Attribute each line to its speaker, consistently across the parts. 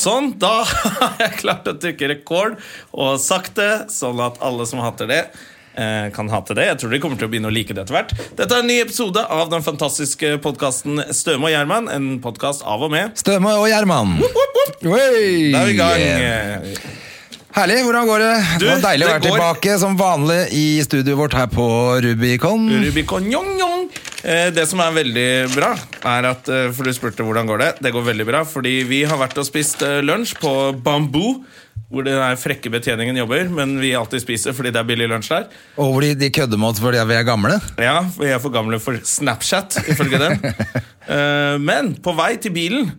Speaker 1: Sånn, da har jeg klart å trykke rekord og sagt det, sånn at alle som hater det, eh, kan hate det. Jeg tror de kommer til å begynne å like det etter hvert. Dette er en ny episode av den fantastiske podkasten Støme og Gjerman. En podkast av og med.
Speaker 2: Støme og Gjerman. Oi!
Speaker 1: Da er vi i gang. Eh,
Speaker 2: Herlig. Hvordan går det?
Speaker 1: Du,
Speaker 2: det var deilig å
Speaker 1: det
Speaker 2: være
Speaker 1: går-
Speaker 2: tilbake som vanlig i studioet vårt her på Rubicon.
Speaker 1: Eh, Rubicon njong, njong. Eh, Det som er veldig bra, er at eh, For du spurte hvordan går det. Det går veldig bra, fordi vi har vært og spist eh, lunsj på Bamboo. Hvor den her frekke betjeningen jobber, men vi alltid spiser fordi det er billig lunsj der.
Speaker 2: Og hvor de, de kødder med oss fordi vi er gamle.
Speaker 1: Ja, for jeg er for gamle for Snapchat, ifølge dem. Eh, men på vei til bilen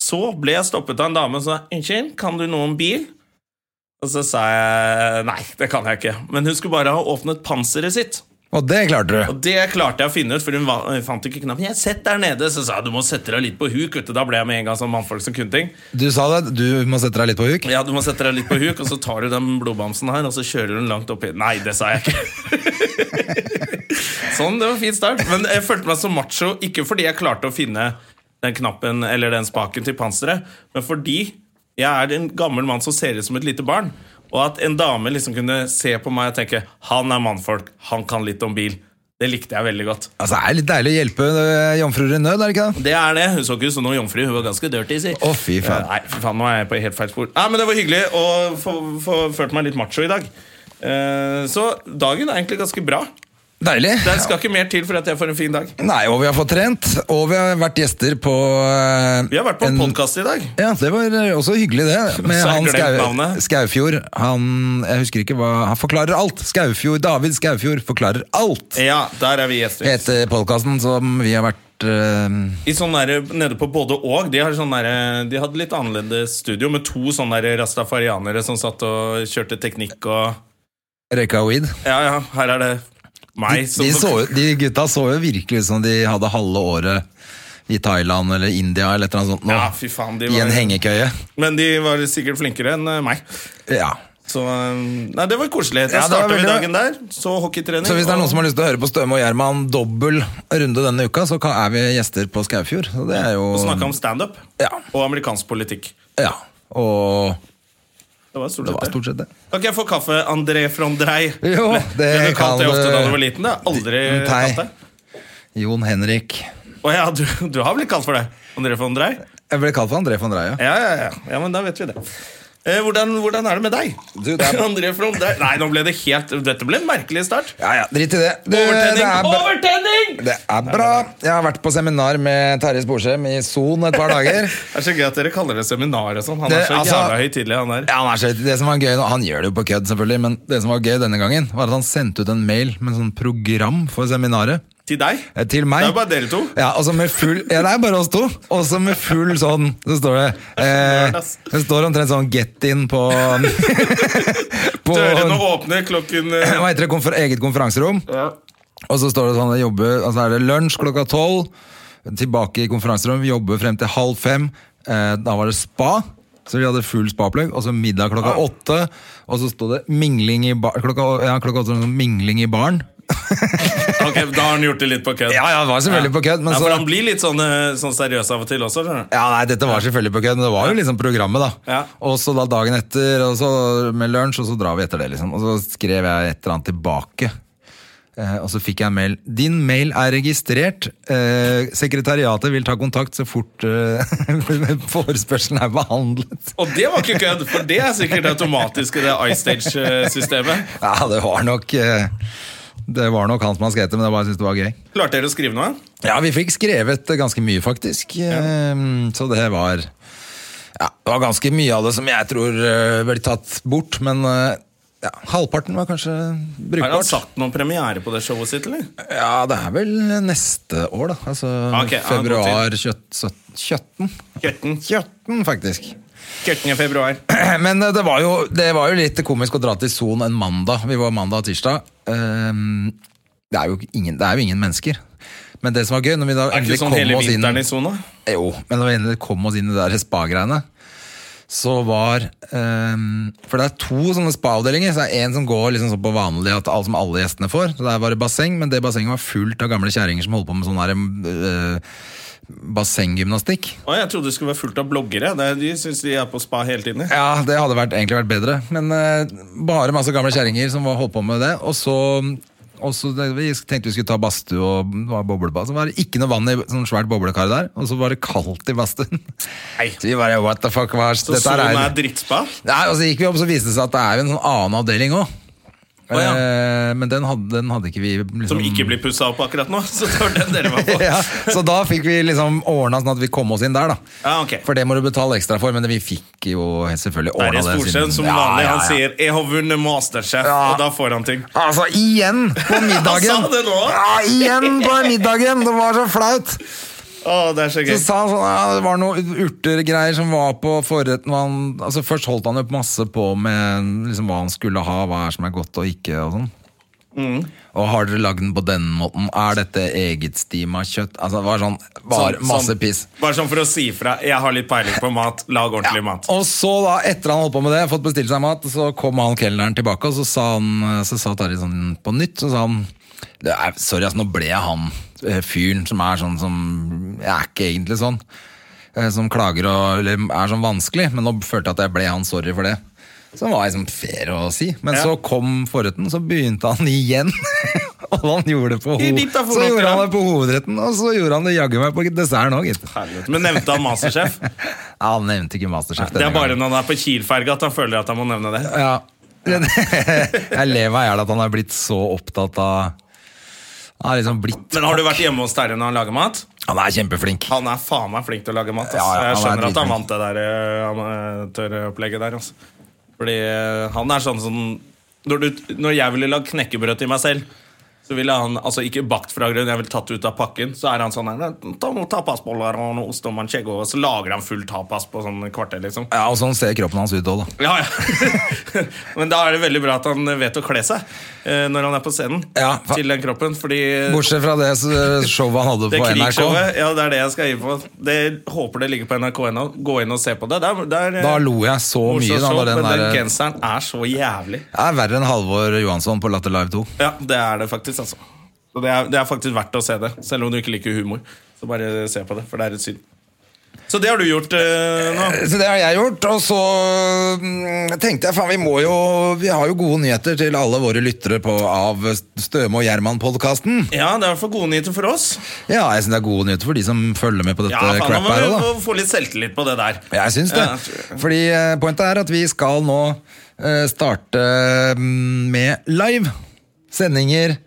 Speaker 1: så ble jeg stoppet av en dame som sa 'Unnskyld, kan du noe om bil?' Og så sa jeg 'Nei, det kan jeg ikke'. Men hun skulle bare ha åpnet panseret sitt.
Speaker 2: Og det klarte du.
Speaker 1: Og det klarte jeg å finne ut, for hun va- hun fant ikke knappen. 'Jeg sett der nede', så sa jeg 'Du må sette deg litt på huk', vet du. Da ble jeg med en gang sånn mannfolk som kunne ting.
Speaker 2: Du sa det. Du må sette deg litt på huk.
Speaker 1: Ja, du må sette deg litt på huk, og så tar du den blodbamsen her, og så kjører du den langt oppi. Nei, det sa jeg ikke. sånn, det var en fin start. Men jeg følte meg så macho, ikke fordi jeg klarte å finne den knappen eller den spaken til panseret, men fordi jeg er en gammel mann som ser ut som et lite barn. Og at en dame liksom kunne se på meg og tenke 'han er mannfolk, han kan litt om bil'. Det likte jeg veldig godt.
Speaker 2: Altså, Det er litt deilig å hjelpe øh, jomfruer i nød, er det ikke det?
Speaker 1: Det er det. Hun så ikke ut som noen jomfru. Hun var ganske dirty. Si.
Speaker 2: Å, fy faen.
Speaker 1: Nei, fy faen, nå er jeg på helt feil spor. Nei, men Det var hyggelig å få, få følt meg litt macho i dag. Eh, så dagen er egentlig ganske bra.
Speaker 2: Deilig.
Speaker 1: Det skal ikke mer til for at jeg får en fin dag.
Speaker 2: Nei, og vi har fått trent, og vi har vært gjester på øh,
Speaker 1: Vi har vært på en
Speaker 2: en-
Speaker 1: podkast i dag.
Speaker 2: Ja, det var øh, også hyggelig det Med
Speaker 1: Så har jeg
Speaker 2: han
Speaker 1: glemt
Speaker 2: Skau,
Speaker 1: navnet.
Speaker 2: Skaufjord han, Jeg husker ikke hva Han forklarer alt Skaufjord, David Skaufjord forklarer alt
Speaker 1: Ja, der er vi gjester.
Speaker 2: Etter podcasten som vi har vært eh,
Speaker 1: I sånn der, Nede på både og. De, har sånn der, de hadde litt annerledes studio med to sånne der rastafarianere som satt og kjørte teknikk og
Speaker 2: Røyka weed
Speaker 1: Ja, ja, her er det meg som
Speaker 2: de, så, jo- de gutta så jo virkelig ut som de hadde halve året I Thailand eller India Eller et eller annet sånt nå
Speaker 1: Ja, fy faen, de
Speaker 2: I en
Speaker 1: var,
Speaker 2: hengekøye
Speaker 1: Men de var sikkert flinkere enn eh, meg.
Speaker 2: Ja
Speaker 1: Så um, Nei, det var koselig. Da
Speaker 2: Ja, det var
Speaker 1: starta vi
Speaker 2: veldig
Speaker 1: dagen der. Så hockeytrening.
Speaker 2: så hvis det er
Speaker 1: og-
Speaker 2: noen som har lyst til å høre på Støme og Gjerman Dobbel runde denne uka Så kan- er vi gjester på Skaufjord Så det er jo
Speaker 1: og snakka om standup
Speaker 2: Ja.
Speaker 1: og amerikansk politikk.
Speaker 2: Ja, og
Speaker 1: Det var stort
Speaker 2: det
Speaker 1: sett
Speaker 2: var
Speaker 1: det.
Speaker 2: stort sett det
Speaker 1: Kan ikke jeg få kaffe, André Frondrei?
Speaker 2: Jo,
Speaker 1: Ble-
Speaker 2: det
Speaker 1: ble du
Speaker 2: kan
Speaker 1: kalt det ofte
Speaker 2: du-
Speaker 1: da du var liten? Det har jeg aldri
Speaker 2: Nei.
Speaker 1: kalt det.
Speaker 2: Jon Henrik.
Speaker 1: Å ja, du, du har blitt kalt for det? André Frondrei?
Speaker 2: Jeg ble kalt for André von Dreia.
Speaker 1: Ja, ja, ja. ja, men da vet vi det. Eh, hvordan, hvordan er det med deg?
Speaker 2: Du, det er-
Speaker 1: André Frondrei Nei, nå ble det helt Dette ble en merkelig start.
Speaker 2: Ja, ja, drit i det. Du, det,
Speaker 1: Overtenning!
Speaker 2: er bra.
Speaker 1: Overtenning!
Speaker 2: det er bra. Jeg har vært på seminar med Terje Sporsem i Son et par dager.
Speaker 1: Det er så gøy at dere kaller det seminar og sånn. Han er
Speaker 2: Det-
Speaker 1: så
Speaker 2: altså-
Speaker 1: jævla høytidelig, han der.
Speaker 2: Ja, han, er så, det som var gøy, nå- han gjør det jo på kødd, selvfølgelig, men det som var gøy denne gangen, var at han sendte ut en mail med en sånn program for seminaret.
Speaker 1: Til deg?
Speaker 2: eh, Til meg.
Speaker 1: Det er jo bare dere to.
Speaker 2: Ja, og så med full, ja, det er bare oss to. Og så med full sånn Så står det eh, Det står omtrent sånn 'get in' på, på
Speaker 1: Dørene åpner klokken eh,
Speaker 2: Hva heter det? Konfer eget konferanserom. Og så står det sånn, jeg jobber, altså er det lunsj klokka tolv, tilbake i konferanserom, jobber frem til halv fem, eh, da var det spa, så vi hadde full spapløgg, og så middag klokka
Speaker 1: Ah.
Speaker 2: åtte, og så stod det mingling i bar, klokka, ja, klokka åtte, var det sånn mingling i baren.
Speaker 1: Ok, Da har han gjort det litt på kødd.
Speaker 2: Ja, ja, det var selvfølgelig på kødd, men
Speaker 1: Ja,
Speaker 2: så...
Speaker 1: for han blir litt sånn, eh, sånn seriøs av og til også. skjønner du?
Speaker 2: Ja, nei, dette var selvfølgelig på kødd, men det var jo liksom programmet, da.
Speaker 1: Ja.
Speaker 2: Og så da dagen etter, og så med lunsj, og så drar vi etter det, liksom. Og så skrev jeg et eller annet tilbake. Eh, og så fikk jeg en mail. Din mail er registrert. Eh, sekretariatet vil ta kontakt så fort eh, forespørselen er behandlet.
Speaker 1: Og det var ikke kødd, for det er sikkert automatisk i det eh, iStage-systemet.
Speaker 2: Ja, det var nok eh, Det var nok han som har skrevet det, men jeg bare syntes det var gøy.
Speaker 1: Klarte dere å skrive noe?
Speaker 2: Ja, vi fikk skrevet ganske mye, faktisk. Ehm, Så det var ja, Det var ganske mye av det som jeg tror eh, ble tatt bort, men eh, ja, halvparten var kanskje
Speaker 1: Har han
Speaker 2: brukbart.
Speaker 1: satt noen premiere på det showet sitt, eller?
Speaker 2: Ja, det er vel neste år, da. Altså
Speaker 1: Ah, Ok, ja, god
Speaker 2: februar kjøtt, søt- 17.
Speaker 1: Kjøtten.
Speaker 2: 17, faktisk.
Speaker 1: Køkken i februar.
Speaker 2: Men eh, det var, jo, det var jo litt komisk å dra til Son en mandag. Vi var mandag og tirsdag. Ehm, Det er jo ingen, det er jo ingen mennesker. Men det som var gøy når vi da
Speaker 1: Er ikke
Speaker 2: endelig
Speaker 1: sånn
Speaker 2: kom
Speaker 1: hele
Speaker 2: oss inn
Speaker 1: vinteren i sona?
Speaker 2: Jo, men når vi endelig kom oss inn i det der spa-greiene, så var ehm, For det er to sånne spa-avdelinger. Så det er en som går liksom sånn på vanlig at alt som alle gjestene får. Så der var det basseng, men det bassenget var fullt av gamle kjerringer som holdt på med sånn her eh, bassenggymnastikk.
Speaker 1: Å, jeg trodde det skulle være fullt av bloggere. Det er- De syns de er på spa hele tiden. de.
Speaker 2: Ja, det hadde vært, egentlig vært bedre. Men eh, bare masse gamle kjerringer som var- holdt på med det. Og så, og så det, vi tenkte vi skulle ta badstue og det var boblebad. Så var det ikke noe vann i sånn svært boblekar der. Og så var det kaldt i badstuen.
Speaker 1: Nei.
Speaker 2: Så vi bare, what the fuck, hva er
Speaker 1: Så
Speaker 2: dette her
Speaker 1: Son er
Speaker 2: er?
Speaker 1: drittspa?
Speaker 2: Nei, og så gikk vi opp, så viste det seg at det er jo en sånn annen avdeling òg.
Speaker 1: Å, ja.
Speaker 2: Men den hadde, den hadde ikke vi liksom,
Speaker 1: Som ikke blir pussa opp akkurat nå. Så det var den dere var på.
Speaker 2: ja, Så da fikk vi liksom ordna sånn at vi kom oss inn der, da.
Speaker 1: Ja, Ah, ok.
Speaker 2: For det må du betale ekstra for, men vi fikk jo selvfølgelig
Speaker 1: Det er
Speaker 2: ordna
Speaker 1: i
Speaker 2: det.
Speaker 1: Storsen
Speaker 2: siden-
Speaker 1: som
Speaker 2: Ja,
Speaker 1: vanlig.
Speaker 2: ja,
Speaker 1: Han
Speaker 2: ja.
Speaker 1: sier 'jeg har vunnet Masterchef',
Speaker 2: Ja.
Speaker 1: og da får han ting.
Speaker 2: Altså, igjen på middagen!
Speaker 1: Han sa det nå.
Speaker 2: Ja, igjen på middagen! Det var så flaut!
Speaker 1: Å, det er så
Speaker 2: Så
Speaker 1: gøy.
Speaker 2: sa han sånn, ja, det var noen urtergreier som var på forretten. og Han, altså først holdt han jo masse på med liksom, hva han skulle ha, hva er som er godt og ikke. og sånn.
Speaker 1: Mm.
Speaker 2: Og har dere lagd den på den måten? Er dette egetstima kjøtt? Altså, det var sånn,
Speaker 1: Sånn-
Speaker 2: bare masse
Speaker 1: sånn-
Speaker 2: piss.
Speaker 1: Bare sånn for å si fra. Jeg har litt peiling på mat. Lag ordentlig mat.
Speaker 2: Og så da, etter han holdt på med det, fått bestilt seg mat, så kom han kelneren tilbake, og så sa, han, så sa Tarjei sånn på nytt, så sa han det er, Sorry, ass, nå ble jeg han eh, fyren som er sånn som Jeg er ikke egentlig sånn. eh, Som klager og eller er sånn vanskelig, men nå følte jeg at jeg ble han sorry for det. Som var liksom fair å si. Men
Speaker 1: Ja.
Speaker 2: så kom forretten, så begynte han igjen. og han gjorde det på,
Speaker 1: I
Speaker 2: ho-
Speaker 1: ditt da, for
Speaker 2: så
Speaker 1: noe,
Speaker 2: gjorde
Speaker 1: ja.
Speaker 2: han det på hovedretten, og så gjorde han det jaggu meg på desserten òg, gitt.
Speaker 1: Helvete. Men nevnte han Masterchef?
Speaker 2: Ja, han nevnte ikke Masterchef.
Speaker 1: Det er
Speaker 2: denne gangen.
Speaker 1: bare når han er på Kiel-ferga at han føler at han må nevne det.
Speaker 2: Ja. jeg ler meg i hjel at han har blitt så opptatt av Han er liksom blitt
Speaker 1: Men har du vært hjemme hos Terje når han lager mat?
Speaker 2: Han er kjempeflink.
Speaker 1: Han er faen meg flink til å lage mat. Ass.
Speaker 2: Ja, ja, han
Speaker 1: jeg
Speaker 2: er
Speaker 1: skjønner at han
Speaker 2: dritflink.
Speaker 1: vant det der eh, amatøropplegget der. Ass. Fordi eh, han er sånn som når, du, når jeg ville lage knekkebrød til meg selv så ville han, altså Ikke bakt fra grunnen, jeg ville tatt det ut av pakken. Så er han sånn her, ta noen tapasboller og noe ost og manchego, og så lager han full tapas på sånn kvarter. liksom.
Speaker 2: Ja, og Sånn ser kroppen hans ut òg, da.
Speaker 1: Ja, ja. Men da er det veldig bra at han vet å kle seg eh, når han er på scenen.
Speaker 2: Ja, fa-
Speaker 1: til den kroppen, fordi
Speaker 2: Bortsett fra det s- showet han hadde
Speaker 1: det
Speaker 2: på NRK.
Speaker 1: krigsshowet, ja, det er det jeg skal gi på. Det, håper det ligger på NRK.no. Gå inn og se på det. det, er, det er, eh,
Speaker 2: Da lo jeg så mye.
Speaker 1: morsomt
Speaker 2: Da,
Speaker 1: show,
Speaker 2: da den
Speaker 1: men den
Speaker 2: der, eh,
Speaker 1: genseren er så jævlig.
Speaker 2: det er verre enn Halvor Johansson på Latter Live 2.
Speaker 1: Ja, det er det faktisk, altså. Så det er, det er faktisk verdt å se det, selv om du ikke liker humor. Så bare se på det, for det er et syn. Så det har du gjort eh, nå.
Speaker 2: Så det har jeg gjort, og så mm, tenkte jeg faen, vi må jo Vi har jo gode nyheter til alle våre lyttere på, av Støme og Gjerman-podkasten.
Speaker 1: Ja, det er i hvert fall gode nyheter for oss.
Speaker 2: Ja, jeg syns det er gode nyheter for de som følger med på dette
Speaker 1: Ja, faen, Nå
Speaker 2: crap
Speaker 1: må
Speaker 2: her òg, da.
Speaker 1: vi få- få litt selvtillit på det der.
Speaker 2: Jeg syns det.
Speaker 1: Ja, tror jeg.
Speaker 2: Fordi eh, pointet er at vi skal nå eh, starte mm, med live sendinger.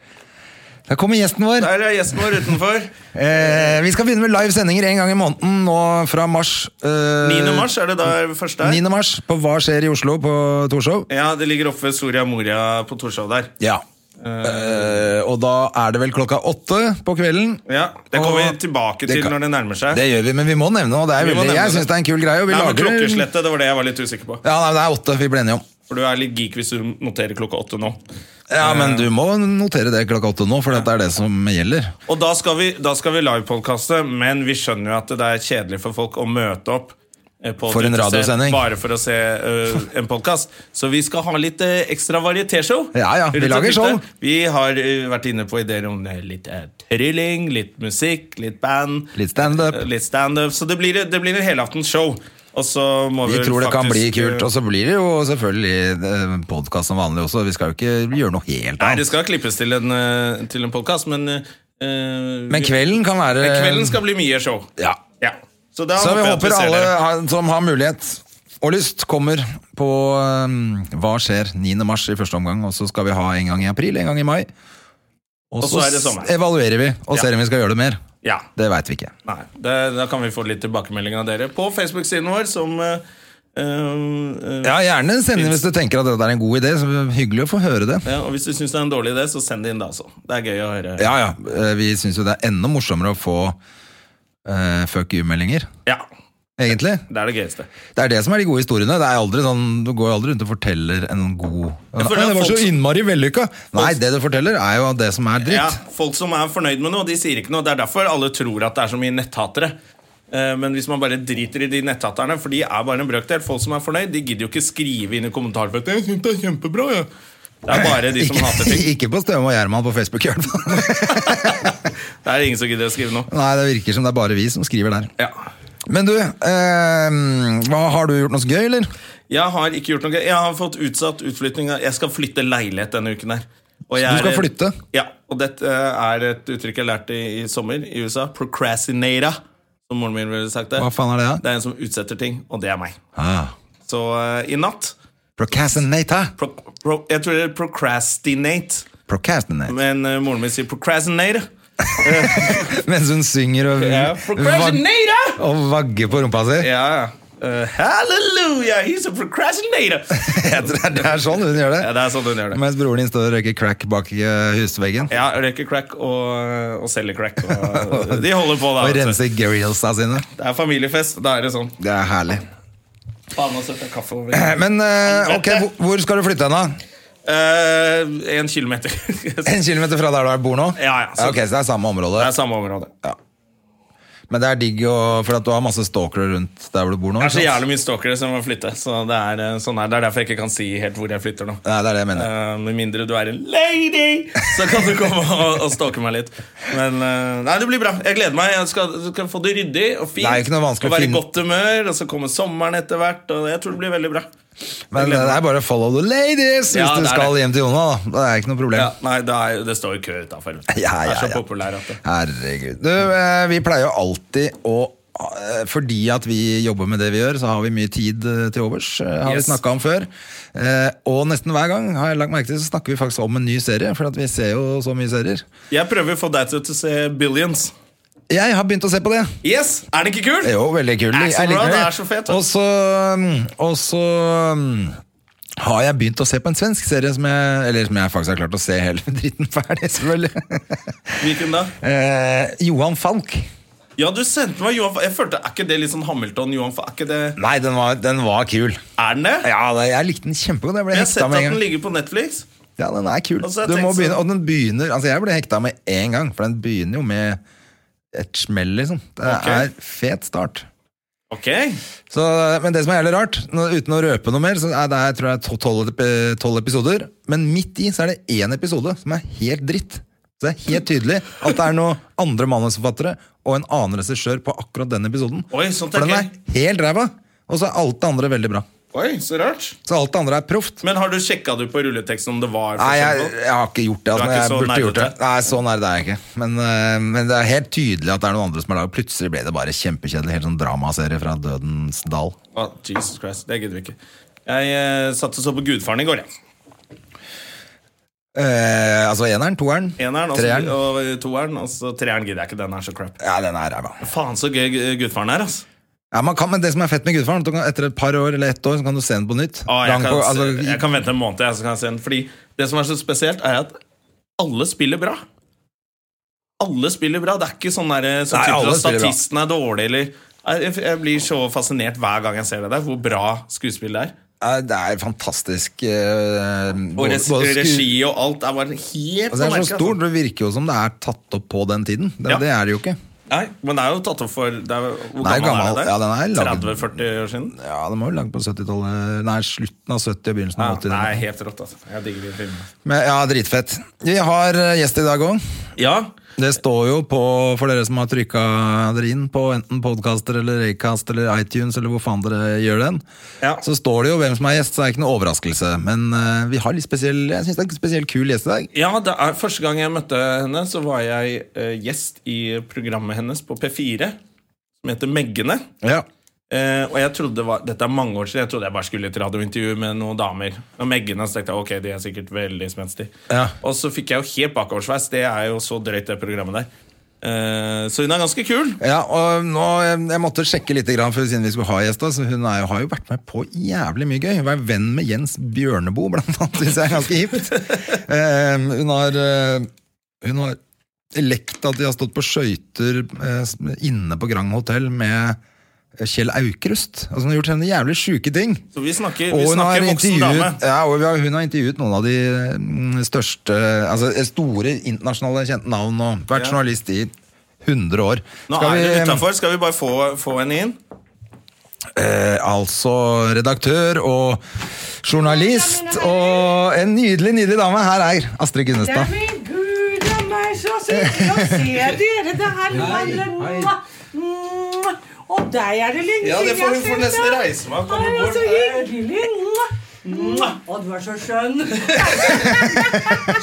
Speaker 2: Der kommer gjesten vår.
Speaker 1: Der er gjesten vår utenfor.
Speaker 2: Eh, vi skal begynne med live sendinger en gang i måneden nå fra mars. eh,
Speaker 1: 9. mars, er det da første her?
Speaker 2: 9. mars på Hva skjer i Oslo på Torshov.
Speaker 1: Ja, det ligger oppe ved Soria Moria på Torshov der.
Speaker 2: Ja. Eh, og da er det vel klokka åtte på kvelden.
Speaker 1: Ja, Det kommer
Speaker 2: Og-
Speaker 1: vi tilbake
Speaker 2: det
Speaker 1: til
Speaker 2: kan-
Speaker 1: når det nærmer seg.
Speaker 2: Det gjør vi, men vi må nevne og det. Er
Speaker 1: Vi må
Speaker 2: veldig,
Speaker 1: nevne
Speaker 2: jeg syns det er en kul greie. Og vi
Speaker 1: Nei, men
Speaker 2: lager
Speaker 1: Klokkeslettet, det var det jeg var litt usikker på.
Speaker 2: Ja, nei, Det er åtte, vi ble enige om.
Speaker 1: For du er litt geek hvis du noterer klokka åtte nå.
Speaker 2: Ja, men du må notere det klokka åtte nå, for det er det som gjelder.
Speaker 1: Og da skal vi, da skal vi livepodkaste, men vi skjønner jo at det er kjedelig for folk å møte opp. eh, på
Speaker 2: For en
Speaker 1: 36,
Speaker 2: radiosending.
Speaker 1: Bare for å se eh, en podkast. Så vi skal ha litt eh, ekstra varietéshow.
Speaker 2: Ja, ja, vi
Speaker 1: Rett og
Speaker 2: lager
Speaker 1: slett.
Speaker 2: show.
Speaker 1: Vi har eh, vært inne på ideer om eh, litt eh, trylling, litt musikk, litt band.
Speaker 2: Litt standup.
Speaker 1: Eh, Litt standup. Så det blir, det blir en helaftens show. Og så må
Speaker 2: Vi
Speaker 1: vel
Speaker 2: tror det kan bli
Speaker 1: faktisk,
Speaker 2: kult,
Speaker 1: eh,
Speaker 2: og så blir det jo selvfølgelig podkast som vanlig også. Vi skal jo ikke gjøre noe helt
Speaker 1: Nei, det
Speaker 2: annet.
Speaker 1: skal klippes til en, eh, til en podkast, men eh, eh,
Speaker 2: Men
Speaker 1: vi-
Speaker 2: kvelden kan være
Speaker 1: Men kvelden skal bli mye show.
Speaker 2: Ja.
Speaker 1: Ja. Så, da
Speaker 2: Så vi
Speaker 1: jeg at
Speaker 2: håper
Speaker 1: ser
Speaker 2: alle
Speaker 1: dere.
Speaker 2: har- som har mulighet og lyst, kommer på eh, Hva skjer 9. mars i første omgang, og så skal vi ha en gang i april, en gang i mai. Og
Speaker 1: Og
Speaker 2: så
Speaker 1: så er det
Speaker 2: s-
Speaker 1: sommer.
Speaker 2: evaluerer vi og
Speaker 1: Ja.
Speaker 2: ser om vi skal gjøre det mer.
Speaker 1: Ja.
Speaker 2: Det veit vi ikke.
Speaker 1: Nei, det, da kan vi få litt tilbakemelding av dere på Facebook-siden vår, som eh, eh,
Speaker 2: Ja, Gjerne send inn hvis du tenker at dette er en god idé. Så hyggelig å få høre det.
Speaker 1: ja, eh, Og hvis du syns det er en dårlig idé, så send det inn da også. Det er gøy å høre.
Speaker 2: Ja, ja. eh, Vi syns jo det er enda morsommere å få eh, fuck you-meldinger.
Speaker 1: Ja.
Speaker 2: egentlig.
Speaker 1: Det er det gøyeste.
Speaker 2: Det er det som er de gode historiene. Det er aldri sånn, Du går jo aldri rundt og forteller en god
Speaker 1: Jeg føler
Speaker 2: Nei, Det
Speaker 1: at
Speaker 2: var så
Speaker 1: folk-
Speaker 2: innmari vellykka! Nei, det du forteller, er jo det som er
Speaker 1: Ja,
Speaker 2: dritt.
Speaker 1: folk som er fornøyd med noe, de sier ikke noe. Det er derfor alle tror at det er så mye netthatere. Eh, Men hvis man bare driter i de netthaterne, for de er bare en brøkdel, folk som er fornøyd, de gidder jo ikke skrive inn i kommentarfeltet 'Jeg synes det er kjempebra', jeg. Det er bare de som hater
Speaker 2: Ikke,
Speaker 1: ting.
Speaker 2: ikke på Støme og Gjerman på Facebook, i hvert fall.
Speaker 1: Det er ingen som gidder å skrive noe.
Speaker 2: Nei, det virker som det er bare vi som skriver der.
Speaker 1: Ja.
Speaker 2: Men du, eh, hva har du gjort noe så gøy, eller?
Speaker 1: Jeg har ikke gjort noe gøy. Jeg har fått utsatt utflytting. av- Jeg skal flytte leilighet denne uken her. Og jeg
Speaker 2: Så du
Speaker 1: er-
Speaker 2: skal flytte?
Speaker 1: Ja, og dette eh, er et uttrykk jeg lærte i, i sommer i USA. Procrastinata, som moren min ville sagt det.
Speaker 2: Hva faen er det, da?
Speaker 1: Det er en som utsetter ting, og det er meg.
Speaker 2: Ah.
Speaker 1: Så eh, i natt
Speaker 2: Procrastinate.
Speaker 1: pro, pro, Jeg tror det er procrastinate,
Speaker 2: Procrastinate.
Speaker 1: men eh, moren min sier procrastinate.
Speaker 2: Mens hun synger og,
Speaker 1: Ja, procrastinate!
Speaker 2: og vagger på rumpa si.
Speaker 1: Ja, ja. Eh, hallelujah, he's a procrastinator!
Speaker 2: Jeg tror det er sånn hun gjør det.
Speaker 1: Ja, det er sånn hun gjør det.
Speaker 2: Mens broren din står og røyker crack bak eh, husveggen.
Speaker 1: Ja, røyker crack og, og selger crack. Og, de holder på, da.
Speaker 2: Og
Speaker 1: vet du.
Speaker 2: renser Garyelsa sine.
Speaker 1: Det er familiefest. Da er det sånn.
Speaker 2: Det er herlig.
Speaker 1: Faen, nå setter jeg kaffe over.
Speaker 2: Men eh, ok, hvor- hvor skal du flytte hen, da?
Speaker 1: Eh, en kilometer. det
Speaker 2: En kilometer fra der du bor nå?
Speaker 1: Ja, ja, så-
Speaker 2: ok, Så det er samme område.
Speaker 1: er samme område.
Speaker 2: Men det er digg, å- for at du har masse stalkere rundt der hvor du bor nå.
Speaker 1: Det er så
Speaker 2: ikke sant?
Speaker 1: jævlig mye stalkere som må flytte. Så det er, eh, sånn her. det er derfor jeg ikke kan si helt hvor jeg flytter nå.
Speaker 2: Nei, det er det jeg mener.
Speaker 1: Eh, med mindre du er en lady, så kan du komme og, og stalke meg litt. Men eh, nei, det blir bra. Jeg gleder meg. Jeg skal, skal få det ryddig og
Speaker 2: Det
Speaker 1: fint.
Speaker 2: er jo ikke noe vanskelig
Speaker 1: og
Speaker 2: å
Speaker 1: være i
Speaker 2: finne-
Speaker 1: godt humør, og så kommer sommeren etter hvert. Og jeg tror det blir veldig bra.
Speaker 2: Men eh, det er bare follow the ladies hvis
Speaker 1: Ja,
Speaker 2: du
Speaker 1: det er
Speaker 2: skal
Speaker 1: det.
Speaker 2: hjem til Jona. da. Det er ikke noe problem.
Speaker 1: Ja, nei, det, er, det står jo kø utafor.
Speaker 2: Ja,
Speaker 1: Det
Speaker 2: ja,
Speaker 1: er så
Speaker 2: ja.
Speaker 1: populær at det
Speaker 2: Herregud. Du, eh, vi pleier jo alltid å eh, fordi at vi jobber med det vi gjør, så har vi mye tid eh, til overs. eh, har
Speaker 1: Yes.
Speaker 2: vi snakket om før Eh, Og nesten hver gang har jeg lagt merke til Så snakker vi faktisk om en ny serie, for at vi ser jo så mye serier.
Speaker 1: Jeg prøver å få deg til å se Billions.
Speaker 2: Jeg har begynt å se på det.
Speaker 1: Yes, Er den ikke kul?
Speaker 2: Det er jo veldig kul.
Speaker 1: Det er så
Speaker 2: Jeg liker
Speaker 1: bra,
Speaker 2: det.
Speaker 1: det er så fett, da.
Speaker 2: Og så, mm, og så mm, har jeg begynt å se på en svensk serie som jeg, eller som jeg faktisk har klart å se hele dritten ferdig, selvfølgelig.
Speaker 1: Hvilken da?
Speaker 2: Eh, Johan Falk.
Speaker 1: Ja, du sendte meg Johan Fa- Jeg følte, Er ikke det litt sånn Hamilton? Johan Fa- er, ikke det,
Speaker 2: Nei, den var, den var kul.
Speaker 1: er den det?
Speaker 2: Ja, det, jeg likte den kjempegodt. Jeg ble
Speaker 1: Jeg har
Speaker 2: hekta med
Speaker 1: sett at
Speaker 2: en
Speaker 1: den
Speaker 2: gang.
Speaker 1: ligger på Netflix.
Speaker 2: Ja, den er kul.
Speaker 1: Altså, jeg
Speaker 2: du må
Speaker 1: tenkte
Speaker 2: begynne,
Speaker 1: sånn-
Speaker 2: og den begynner Altså, jeg ble hekta med en gang, for den begynner jo med et smell, liksom. Det
Speaker 1: Ok.
Speaker 2: er fet start.
Speaker 1: Ok,
Speaker 2: Så, men det som er jævlig rart, nå- uten å røpe noe mer, så er det jeg tror jeg to- tolv ep- tolv episoder, men midt i så er det én episode som er helt dritt. Så det er helt tydelig at det er noen andre manusforfattere og en annen regissør på akkurat den episoden.
Speaker 1: Oi, sånt er
Speaker 2: For den er
Speaker 1: gøy.
Speaker 2: helt ræva, og så er alt det andre veldig bra.
Speaker 1: Oi, så rart.
Speaker 2: Så alt det andre er proft.
Speaker 1: Men har du sjekka du på rulleteksten om det var
Speaker 2: Nei, jeg,
Speaker 1: forskjell på?
Speaker 2: jeg har ikke gjort det.
Speaker 1: Du
Speaker 2: Altså,
Speaker 1: er
Speaker 2: men
Speaker 1: ikke
Speaker 2: jeg
Speaker 1: så
Speaker 2: burde gjort det.
Speaker 1: nerdete?
Speaker 2: Nei, så nerd er jeg ikke. Men, øh, men det er helt tydelig at det er noen andre som har laget Plutselig ble det bare kjempekjedelig. Helt sånn dramaserie fra Dødens dal.
Speaker 1: Å, Jesus Christ, det gidder vi ikke. Jeg eh, satt og så på Gudfaren i går, jeg.
Speaker 2: Eh, altså eneren, toeren,
Speaker 1: Eneren altså, og så-
Speaker 2: treeren.
Speaker 1: og eh, toeren. Og så treeren gidder jeg ikke. Den er så crap.
Speaker 2: Ja, den er ræva.
Speaker 1: Faen så gøy eh, Gudfaren er, altså.
Speaker 2: Ja, man kan, men det som er fett med Gudfaren, er at du kan- etter et par år eller ett år så kan du se den på nytt. Gang
Speaker 1: Å, Ah, jeg, kan,
Speaker 2: på- altså,
Speaker 1: jeg kan vente en måned, jeg, så kan jeg se den. Fordi det som er så spesielt, er at alle spiller bra. Alle spiller bra. Det er ikke sånn der, sånn
Speaker 2: Nei,
Speaker 1: type
Speaker 2: alle
Speaker 1: at
Speaker 2: spiller bra.
Speaker 1: statisten er dårlig, eller jeg, jeg blir så fascinert hver gang jeg ser det der, hvor bra skuespill det er.
Speaker 2: ja, eh, det er fantastisk. eh,
Speaker 1: Og
Speaker 2: både-
Speaker 1: res,
Speaker 2: både sku-
Speaker 1: regi og alt er bare helt
Speaker 2: Altså, det er
Speaker 1: på
Speaker 2: så
Speaker 1: merket,
Speaker 2: stort,
Speaker 1: altså.
Speaker 2: det virker jo som det er tatt opp på den tiden. Det,
Speaker 1: Ja.
Speaker 2: det er det jo ikke.
Speaker 1: Nei, men det er jo tatt opp for det er, Hvor
Speaker 2: Nei,
Speaker 1: gammel,
Speaker 2: gammel.
Speaker 1: er det der?
Speaker 2: Ja, den er laget-
Speaker 1: 30-40 år siden?
Speaker 2: Ja, det må jo lagd på 70-tallet Nei, slutten av 70 og begynnelsen
Speaker 1: Ja,
Speaker 2: av 80.
Speaker 1: det er helt rått, altså. Jeg digger de filmene.
Speaker 2: Men, ja, dritfett. Vi har eh, gjest i dag òg.
Speaker 1: Ja,
Speaker 2: Det står jo på, for dere som har trykka dere inn på enten podkaster eller Raycast eller iTunes eller hvor faen dere gjør den,
Speaker 1: Ja.
Speaker 2: så står det jo hvem som er gjest, så det er ikke noe overraskelse. Men eh, vi har litt spesiell, jeg syns det er en spesiell kul gjest i dag.
Speaker 1: Ja, det er, Første gang jeg møtte henne, så var jeg eh, gjest i programmet hennes på P4, som heter Meggene.
Speaker 2: Ja.
Speaker 1: Eh, og jeg trodde det var, Dette er mange år siden, jeg trodde jeg bare skulle i et radiointervju med noen damer. Og Meggene, så tenkte jeg ok, de er sikkert veldig spenstige.
Speaker 2: Ja.
Speaker 1: Og så fikk jeg jo helt bakoversveis. Det er jo så drøyt, det programmet der. Eh, så hun er ganske kul.
Speaker 2: Ja, og nå, jeg, jeg måtte sjekke litt grann for, siden vi skulle ha gjest. da, så Hun er, jo- har jo vært med på jævlig mye gøy. Hun er venn med Jens Bjørneboe, blant annet. Synes jeg er ganske hipt. Eh, hun har eh, Hun har lekt at de har stått på skøyter eh, inne på Grand Hotell med Kjell Aukrust. Altså, hun har gjort henne jævlig sjuke ting.
Speaker 1: Så vi snakker,
Speaker 2: Og
Speaker 1: vi
Speaker 2: hun har,
Speaker 1: snakker voksen dame.
Speaker 2: intervjuet, ja, og vi har- hun har intervjuet noen av de mm, største Altså store internasjonale kjente navn og vært
Speaker 1: Ja.
Speaker 2: journalist i 100 år.
Speaker 1: Nå
Speaker 2: Skal
Speaker 1: er
Speaker 2: vi,
Speaker 1: det utafor. Skal vi bare få, få henne inn?
Speaker 2: eh, altså redaktør og journalist og en nydelig, nydelig dame. Her er Astrid Gunnestad.
Speaker 3: Neimen, gud a meg, så sikkert å se dere! Det her vandrer Mwah, mwah. Og deg er det lenge
Speaker 1: Ja, det
Speaker 3: siden
Speaker 1: får- hun
Speaker 3: jeg
Speaker 1: får nesten
Speaker 3: deg.
Speaker 1: reise meg og komme
Speaker 3: Nei,
Speaker 1: bort.
Speaker 3: Så hyggelig! Mwah, mwah. Å, du er så skjønn.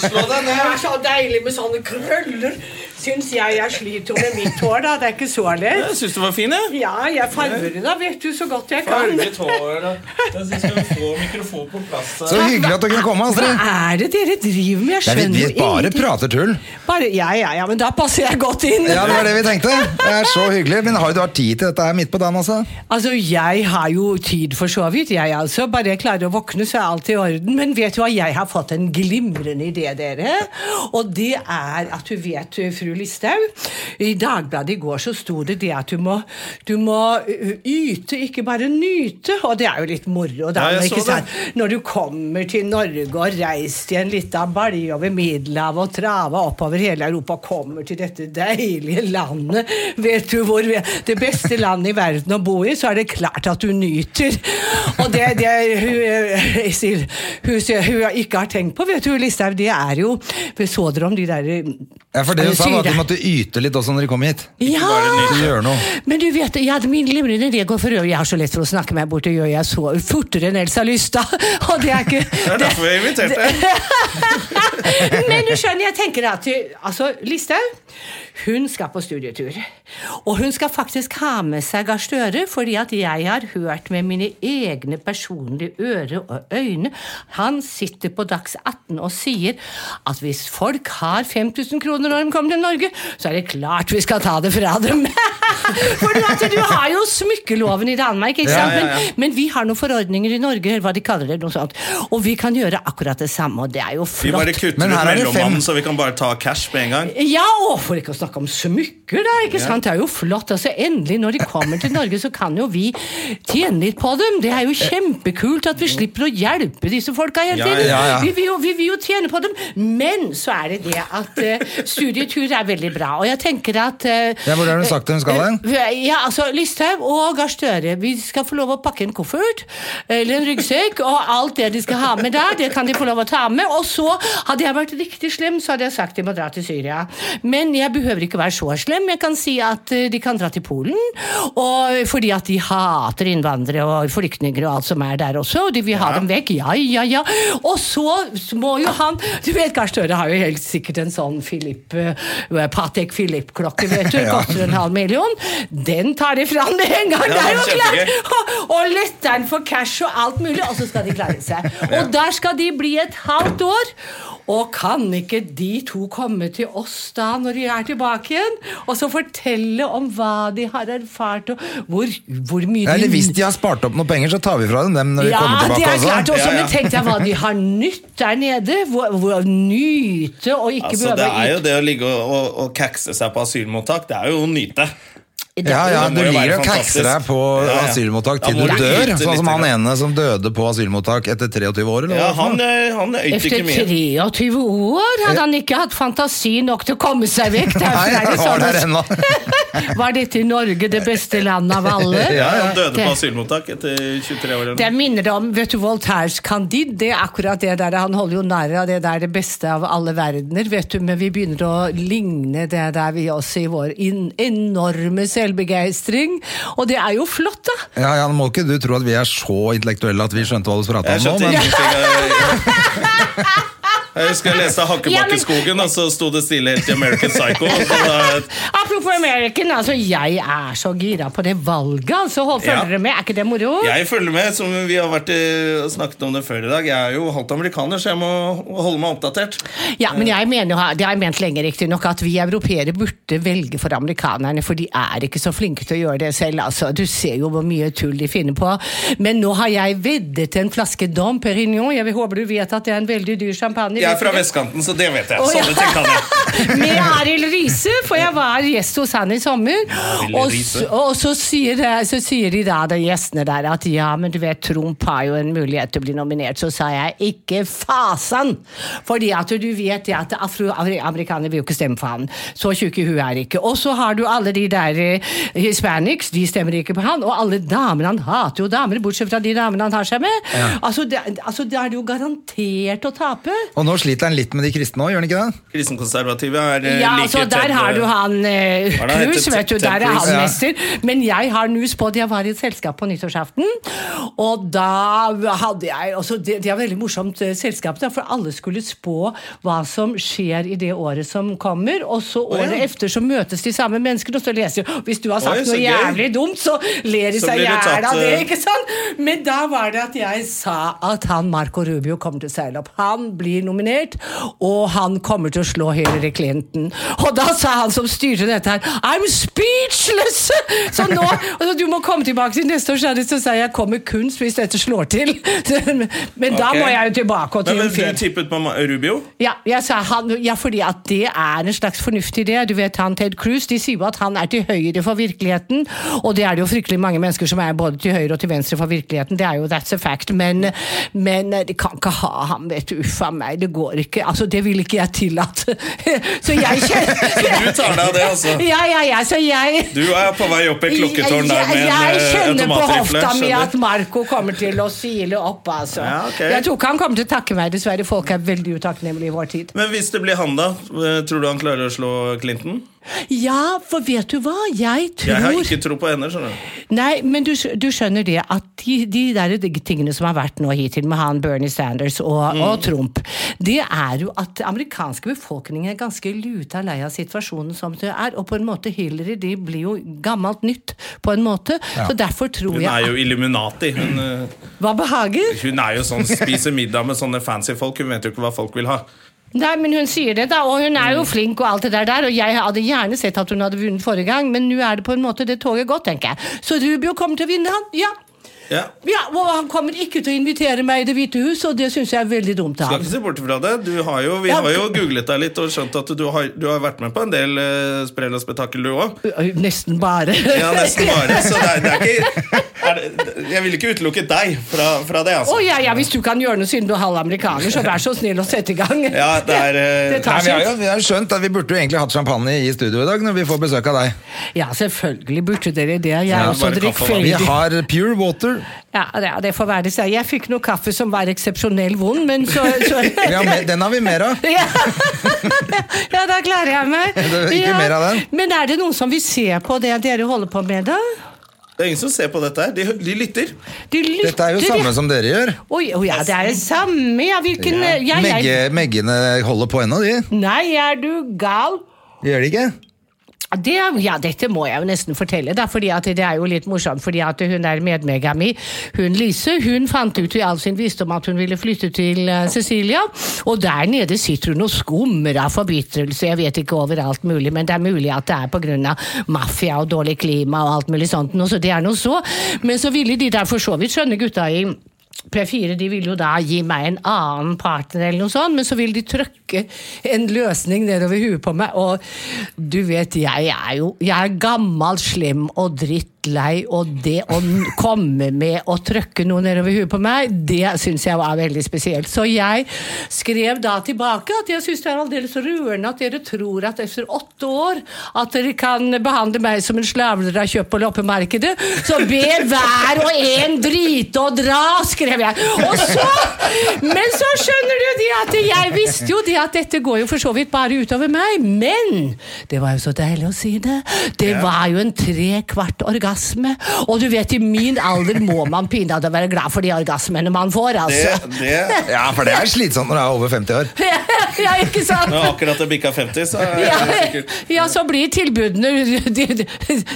Speaker 1: Slå deg
Speaker 3: Det
Speaker 1: ned.
Speaker 3: er så deilig med sånne krøller. Syns jeg jeg sliter med mitt hår, da. Det er ikke så lett.
Speaker 1: Jeg syns du var fin, jeg.
Speaker 3: Ja, jeg farger det da, vet du, så godt jeg kan.
Speaker 1: Farget hår og Jeg syns du får mikrofon på plass.
Speaker 2: Så hyggelig at du kunne komme,
Speaker 3: Hva
Speaker 2: Astrid.
Speaker 3: er det dere driver med? Jeg
Speaker 2: Ja, vi,
Speaker 3: skjønner
Speaker 2: vi
Speaker 3: jo
Speaker 2: bare
Speaker 3: ingenting.
Speaker 2: prater tull.
Speaker 3: Bare, ja, ja, ja, men da passer jeg godt inn.
Speaker 2: Ja, Det var det vi tenkte. Det er så hyggelig. Men har du hatt tid til dette her midt på dagen også?
Speaker 3: Altså, jeg har jo tid for så vidt, jeg altså. Bare jeg klarer å våkne, så er alt i orden. Men vet du hva, jeg har fått en glimrende idé, dere. Og det er at du vet, fru Listhaug, i Dagbladet i går så sto det det at du må, du må ø, yte, ikke bare nyte. Og det er jo litt moro, da.
Speaker 1: Ja, jeg
Speaker 3: ikke
Speaker 1: så det.
Speaker 3: sant? Når du kommer til Norge og reist i en lita balje over Middelhavet og trava oppover hele Europa og kommer til dette deilige landet Vet du hvor vi er? Det beste landet i verden å bo i, så er det klart at du nyter. Og det, det hun, eh, sier- hun, sier- hun ikke har tenkt på, vet du, Listhaug, det er jo Så dere om de der eh,
Speaker 2: Ja, for det hun sa var at
Speaker 3: syre-
Speaker 2: du måtte yte litt også når de kom hit.
Speaker 3: ja!
Speaker 2: Så gjør noe.
Speaker 3: Men du vet, jeg hadde min glimrende idé går for øvrig. Jeg har så lett for å snakke meg bort, det gjør jeg så fortere enn Elsa Lystad. Og det er ikke
Speaker 1: Det er derfor vi har invitert deg.
Speaker 3: Men du skjønner, jeg tenker at du- altså, Listhaug, hun skal på studietur. Og hun skal faktisk ha med seg Gahr Støre, fordi at jeg har hørt med mine egne personlige ører og øyne Han sitter på Dags 18 og sier at hvis folk har 5000 kroner når de kommer til Norge, så er det klart vi skal ta det fra dem. For du, vet, du har jo smykkeloven i Danmark, ikke sant?
Speaker 1: ja, ja.
Speaker 3: Men, men vi har noen forordninger i Norge, eller hva de kaller det, noe sånt. Og vi kan gjøre akkurat det samme, og det er jo
Speaker 1: Vi bare
Speaker 3: flott.
Speaker 1: kutter
Speaker 2: Men
Speaker 1: ut
Speaker 2: her er det
Speaker 1: mellommannen,
Speaker 2: fem.
Speaker 1: så vi kan bare ta cash med en gang.
Speaker 3: Ja, og for ikke å snakke om smykker, da. ikke sant? Det er jo flott. altså Endelig, når de kommer til Norge, så kan jo vi tjene litt på dem. Det er jo kjempekult at vi slipper å hjelpe disse folka hele
Speaker 1: Ja,
Speaker 3: tiden.
Speaker 2: ja, ja.
Speaker 3: Vi, vil jo, vi vil jo tjene på dem. Men så er det det at eh, studietur er veldig bra. Og jeg tenker at eh,
Speaker 2: Ja, hvor har hun sagt hun skal hen?
Speaker 3: ja, altså Listhaug og Gahr Støre, vi skal få lov å pakke en koffert eller en ryggsekk, og alt det de skal ha med der, det kan de få lov å ta med. Og så, hadde jeg vært riktig slem, så hadde jeg sagt de må dra til Syria. Men jeg behøver ikke være så slem. Jeg kan si at eh, de kan dra til Polen, og fordi at de hater innvandrere og flyktninger og alt som er der også, og de vil ha dem vekk. Ja, ja, ja. Og så må jo han Du vet, Gahr Støre har jo helt sikkert en sånn Philip, eh, Patek Philip-klokke, vet du.
Speaker 2: Ja.
Speaker 3: Koster en halv million. Den tar de fram med en gang!
Speaker 1: Ja,
Speaker 3: det er jo
Speaker 1: det er
Speaker 3: klart!
Speaker 1: kjempegøy.
Speaker 3: Og, og letter den for cash og alt mulig, og så skal de klare seg. Og der skal de bli et halvt år. Og kan ikke de to komme til oss da når de er tilbake igjen, og så fortelle om hva de har erfart, og hvor, hvor mye
Speaker 2: Ja, Eller hvis de har spart opp noen penger, så tar vi fra dem dem når de
Speaker 3: ja,
Speaker 2: kommer
Speaker 3: det
Speaker 2: tilbake
Speaker 3: er
Speaker 2: også.
Speaker 3: klart. Og så
Speaker 1: Ja, ja.
Speaker 3: tenk deg hva de har nytt der nede. Hvor, hvor nyte og ikke
Speaker 1: Altså, det
Speaker 3: behøve
Speaker 1: er jo det å ligge og, og, og kakse seg på asylmottak, det er jo å nyte.
Speaker 2: Ja, ja,
Speaker 1: Det
Speaker 2: Du
Speaker 1: må jo
Speaker 2: ligger
Speaker 1: være
Speaker 2: og kakser deg på
Speaker 1: fantastisk. Ja, ja.
Speaker 2: asylmottak
Speaker 1: Da
Speaker 2: til
Speaker 1: må
Speaker 2: du
Speaker 1: du
Speaker 2: dør.
Speaker 1: yte litt,
Speaker 2: Sånn som han
Speaker 1: ja.
Speaker 2: ene som døde på asylmottak etter 23 år. Eller?
Speaker 1: Ja,
Speaker 2: hva?
Speaker 1: han, eh, han øyte
Speaker 3: Etter
Speaker 1: ikke mye.
Speaker 3: 23 år hadde han ikke hatt fantasi nok til å komme seg vekk.
Speaker 2: Nei,
Speaker 3: Derfor er det
Speaker 2: han var
Speaker 3: sånn
Speaker 2: der
Speaker 3: at-
Speaker 2: ennå.
Speaker 3: Var dette i Norge det beste landet av alle?
Speaker 1: Ja, han døde på
Speaker 3: Det-
Speaker 1: asylmottak etter 23 år. eller noe.
Speaker 3: Det minner om vet du, Voltaires Candide. Det er akkurat det der, Han holder jo narr av det der det beste av alle verdener, vet du. Men vi begynner å ligne det der vi også i vår in enorme selvbegeistring. Og det er jo flott, da.
Speaker 2: Ja, ja, nå må ikke du tro at vi er så intellektuelle at vi skjønte hva du prata
Speaker 1: Jeg
Speaker 2: om Eh, nå,
Speaker 1: skjønte
Speaker 2: men
Speaker 1: ingenting. Jeg, jeg husker jeg leste
Speaker 3: Ja, men-
Speaker 1: Hakkebakkeskogen, og så sto det stille helt til American Psycho. og så da-
Speaker 3: Apropos American, altså jeg er så gira på det valget, altså. Hold
Speaker 1: Ja.
Speaker 3: følger dere med, er ikke det moro?
Speaker 1: Jeg følger med, som vi har vært eh, snakket om det før i dag. Jeg er jo halvt amerikaner, så jeg må holde meg oppdatert.
Speaker 3: Ja, men jeg mener, jo- det har jeg ment lenge riktig nok, at vi europeere burde velge for amerikanerne, for de er ikke så flinke til å gjøre det selv. Altså, du ser jo hvor mye tull de finner på. Men nå har jeg veddet en flaske Dom Perignon, jeg vil- håper du vet at det er en veldig dyr champagne,
Speaker 1: Jeg
Speaker 3: dere
Speaker 1: er
Speaker 3: vet
Speaker 1: fra
Speaker 3: det.
Speaker 1: vestkanten, så det vet jeg.
Speaker 3: Å, ja.
Speaker 1: Sånne ting kan jeg.
Speaker 3: med Arild Riise, for jeg var gjest hos han i sommer.
Speaker 1: Arild
Speaker 3: Og,
Speaker 1: Riise.
Speaker 3: s- og så, sier, så sier de da, de gjestene der, at ja, men du vet, Trump har jo en mulighet til å bli nominert. Så sa jeg ikke fasan! Fordi at du vet det at afroamerikanere vil jo ikke stemme for han. Så tjukke hun er ikke. Og så har du alle de der eh, hispanics, de stemmer ikke på han. Og alle damene, han hater jo damer, bortsett fra de damene han har seg med. Altså, det, altså, da er det jo garantert å tape.
Speaker 2: Og nå sliter han litt med de kristne òg, gjør han ikke det?
Speaker 1: Kristenkonservative er eh,
Speaker 3: Ja,
Speaker 1: like
Speaker 3: altså, der
Speaker 1: tett,
Speaker 3: har du
Speaker 1: eh,
Speaker 3: han eh,
Speaker 1: Hva er det han
Speaker 3: Cruz,
Speaker 1: heter?
Speaker 3: vet du. Der er
Speaker 1: Ted Cruz,
Speaker 3: han
Speaker 2: ja.
Speaker 3: mester. Men jeg har nus på at jeg var i et selskap på nyttårsaften, og da hadde jeg også, det, det er veldig morsomt eh, selskap, da, for alle skulle spå hva som skjer i det året som kommer, og så året efter så møtes de samme menneskene, og så leser de Hvis du har sagt
Speaker 1: Oi, så
Speaker 3: noe
Speaker 1: gøy.
Speaker 3: jævlig dumt, så ler de
Speaker 1: Så
Speaker 3: seg i
Speaker 1: blir du
Speaker 3: hjel
Speaker 1: tatt,
Speaker 3: av det,
Speaker 1: eh,
Speaker 3: ikke sant? Men da var det at jeg sa at han Marco Rubio kommer til å seile opp. Han blir nominert, og han kommer til å slå Hillary Clinton. Og da sa han som styrte dette her, I'm speechless! Så nå, altså, du må komme tilbake til neste år, så er det så sa jeg, jeg kommer kunst hvis dette slår til. Men da
Speaker 1: ok.
Speaker 3: må jeg jo tilbake og
Speaker 1: Men, men
Speaker 3: triumfere.
Speaker 1: du tippet på Ma- Rubio?
Speaker 3: Ja, jeg sa han, ja, fordi at det er en slags fornuftig idé. Du vet han Ted Cruz, de sier jo at han er til høyre for virkeligheten, og det er det jo fryktelig mange mennesker som er både til høyre og til venstre for virkeligheten. Det er jo that's a fact, men, men eh, de kan ikke ha ham, vet du. Uff a meg, det går ikke. Altså, det vil ikke jeg tillate. Så jeg kjenner
Speaker 1: Du tar deg av det, altså.
Speaker 3: Ja, ja, ja, så jeg
Speaker 1: Du er på vei opp i klokketårn der med
Speaker 3: jeg,
Speaker 1: en
Speaker 3: jeg
Speaker 1: eh,
Speaker 3: kjenner på
Speaker 1: automatrifle.
Speaker 3: hofta mi at
Speaker 1: skjønner.
Speaker 3: Marco kommer til å sile opp, altså.
Speaker 1: Ja, ok.
Speaker 3: Jeg tror ikke han kommer til å takke meg, dessverre. Folk er veldig utakknemlige i vår tid.
Speaker 1: Men hvis det blir han, da? eh, Tror du han klarer å slå Clinton?
Speaker 3: Ja, for vet du hva? Jeg tror
Speaker 1: Jeg har ikke tro på henne. skjønner du
Speaker 3: Nei, men du, skj- du skjønner det at de, de der tingene som har vært nå hittil med han Bernie Sanders og,
Speaker 1: Mm.
Speaker 3: og Trump, det er jo at den amerikanske befolkningen er ganske luta lei av situasjonen som det er. Og på en måte Hillary de blir jo gammelt nytt, på en måte. Så derfor tror
Speaker 1: Hun er
Speaker 3: jeg
Speaker 1: jo Illuminati. Hun, eh,
Speaker 3: at Hva behager?
Speaker 1: hun er jo sånn spiser middag med sånne fancy folk. Hun vet jo ikke hva folk vil ha.
Speaker 3: Nei, men hun sier det, da. Og hun er
Speaker 1: Mm.
Speaker 3: jo flink og alt det der der. Og jeg hadde gjerne sett at hun hadde vunnet forrige gang, men nå er det på en måte det toget gått, tenker jeg. Så Rubio kommer til å vinne, han. Ja.
Speaker 1: Ja.
Speaker 3: Ja, og Han kommer ikke til å invitere meg i Det hvite hus, og det syns jeg er veldig dumt av
Speaker 1: Skal
Speaker 3: ham.
Speaker 1: ikke se bort fra det. Du har jo, vi
Speaker 3: Ja.
Speaker 1: har jo googlet deg litt og skjønt at du har, du har vært med på en del eh, sprell og spetakkel, du òg.
Speaker 3: Ø, Nesten bare.
Speaker 1: Ja, nesten bare. Så det er, det er ikke er det, Jeg ville ikke utelukket deg fra, fra det,
Speaker 3: Å
Speaker 1: altså.
Speaker 3: ja, ja, hvis du kan gjøre noe siden du er halv amerikaner, så vær så snill å sette i gang.
Speaker 1: Ja, det er, eh,
Speaker 3: Det
Speaker 2: Nei,
Speaker 3: tar
Speaker 2: vi, har jo,
Speaker 3: sitt.
Speaker 2: vi har skjønt at vi burde jo egentlig hatt champagne i studio i dag når vi får besøk av deg.
Speaker 3: Ja, selvfølgelig burde dere det. Jeg er
Speaker 2: Ja,
Speaker 3: også
Speaker 1: bare kaffe, da.
Speaker 2: Vi
Speaker 3: drikkfeldig.
Speaker 2: har pure water.
Speaker 3: Ja, ja, det får være seg. Jeg fikk noe kaffe som var eksepsjonell vond, men så, så
Speaker 2: Vi har mer, den har vi mer av.
Speaker 3: Ja. ja, da klarer jeg meg.
Speaker 2: Det er ikke
Speaker 3: ja.
Speaker 2: mer av den.
Speaker 3: Men er det noen som vil se på det dere holder på med, da?
Speaker 1: Det er ingen som ser på dette her. De, hø- de lytter.
Speaker 3: De lytter,
Speaker 2: Dette er jo samme som dere gjør.
Speaker 3: Oi, oi, ja, det er det samme, ja. Hvilken ja. Jeg,
Speaker 2: Megge, meggene holder på ennå, de.
Speaker 3: Nei, er du gal?
Speaker 2: Gjør de ikke?
Speaker 3: Det, er- ja, dette må jeg jo nesten fortelle, da, fordi at det er jo litt morsomt. fordi at Hun der medmega mi, hun Lise, hun fant ut i all sin visdom at hun ville flytte til eh, Cecilia. Og der nede sitter hun og skummer av forbitrelse. Jeg vet ikke overalt mulig, men det er mulig at det er pga. mafia og dårlig klima og alt mulig sånt. nå, Så det er noe så. Men så ville de der for så vidt skjønne gutta i P4 de ville jo da gi meg en annen partner, eller noe sånt, men så ville de trøkke en løsning nedover huet på meg. Og du vet, jeg er jo jeg er gammel, slem og drittlei, og det å n- komme med å trøkke noe nedover huet på meg, det syns jeg var veldig spesielt. Så jeg skrev da tilbake at jeg syns det er aldeles rørende at dere tror at etter åtte år at dere kan behandle meg som en slave dere har kjøpt på loppemarkedet, så ber hver og en drite og dra, skrev jeg. Og så, men så skjønner du det at jeg visste jo det at dette går jo for så vidt bare utover meg, men det var jo så deilig å si det. Det var jo en trekvart orgasme, og du vet i min alder må man pinadø være glad for de orgasmene man får,
Speaker 1: Det,
Speaker 3: altså.
Speaker 1: det
Speaker 2: Ja, for det er slitsomt når du er over 50 år.
Speaker 3: Ja, ikke sant?
Speaker 1: Når akkurat det bikka 50, så er
Speaker 3: ja,
Speaker 1: det sikkert
Speaker 3: ja, så blir tilbudene De, de,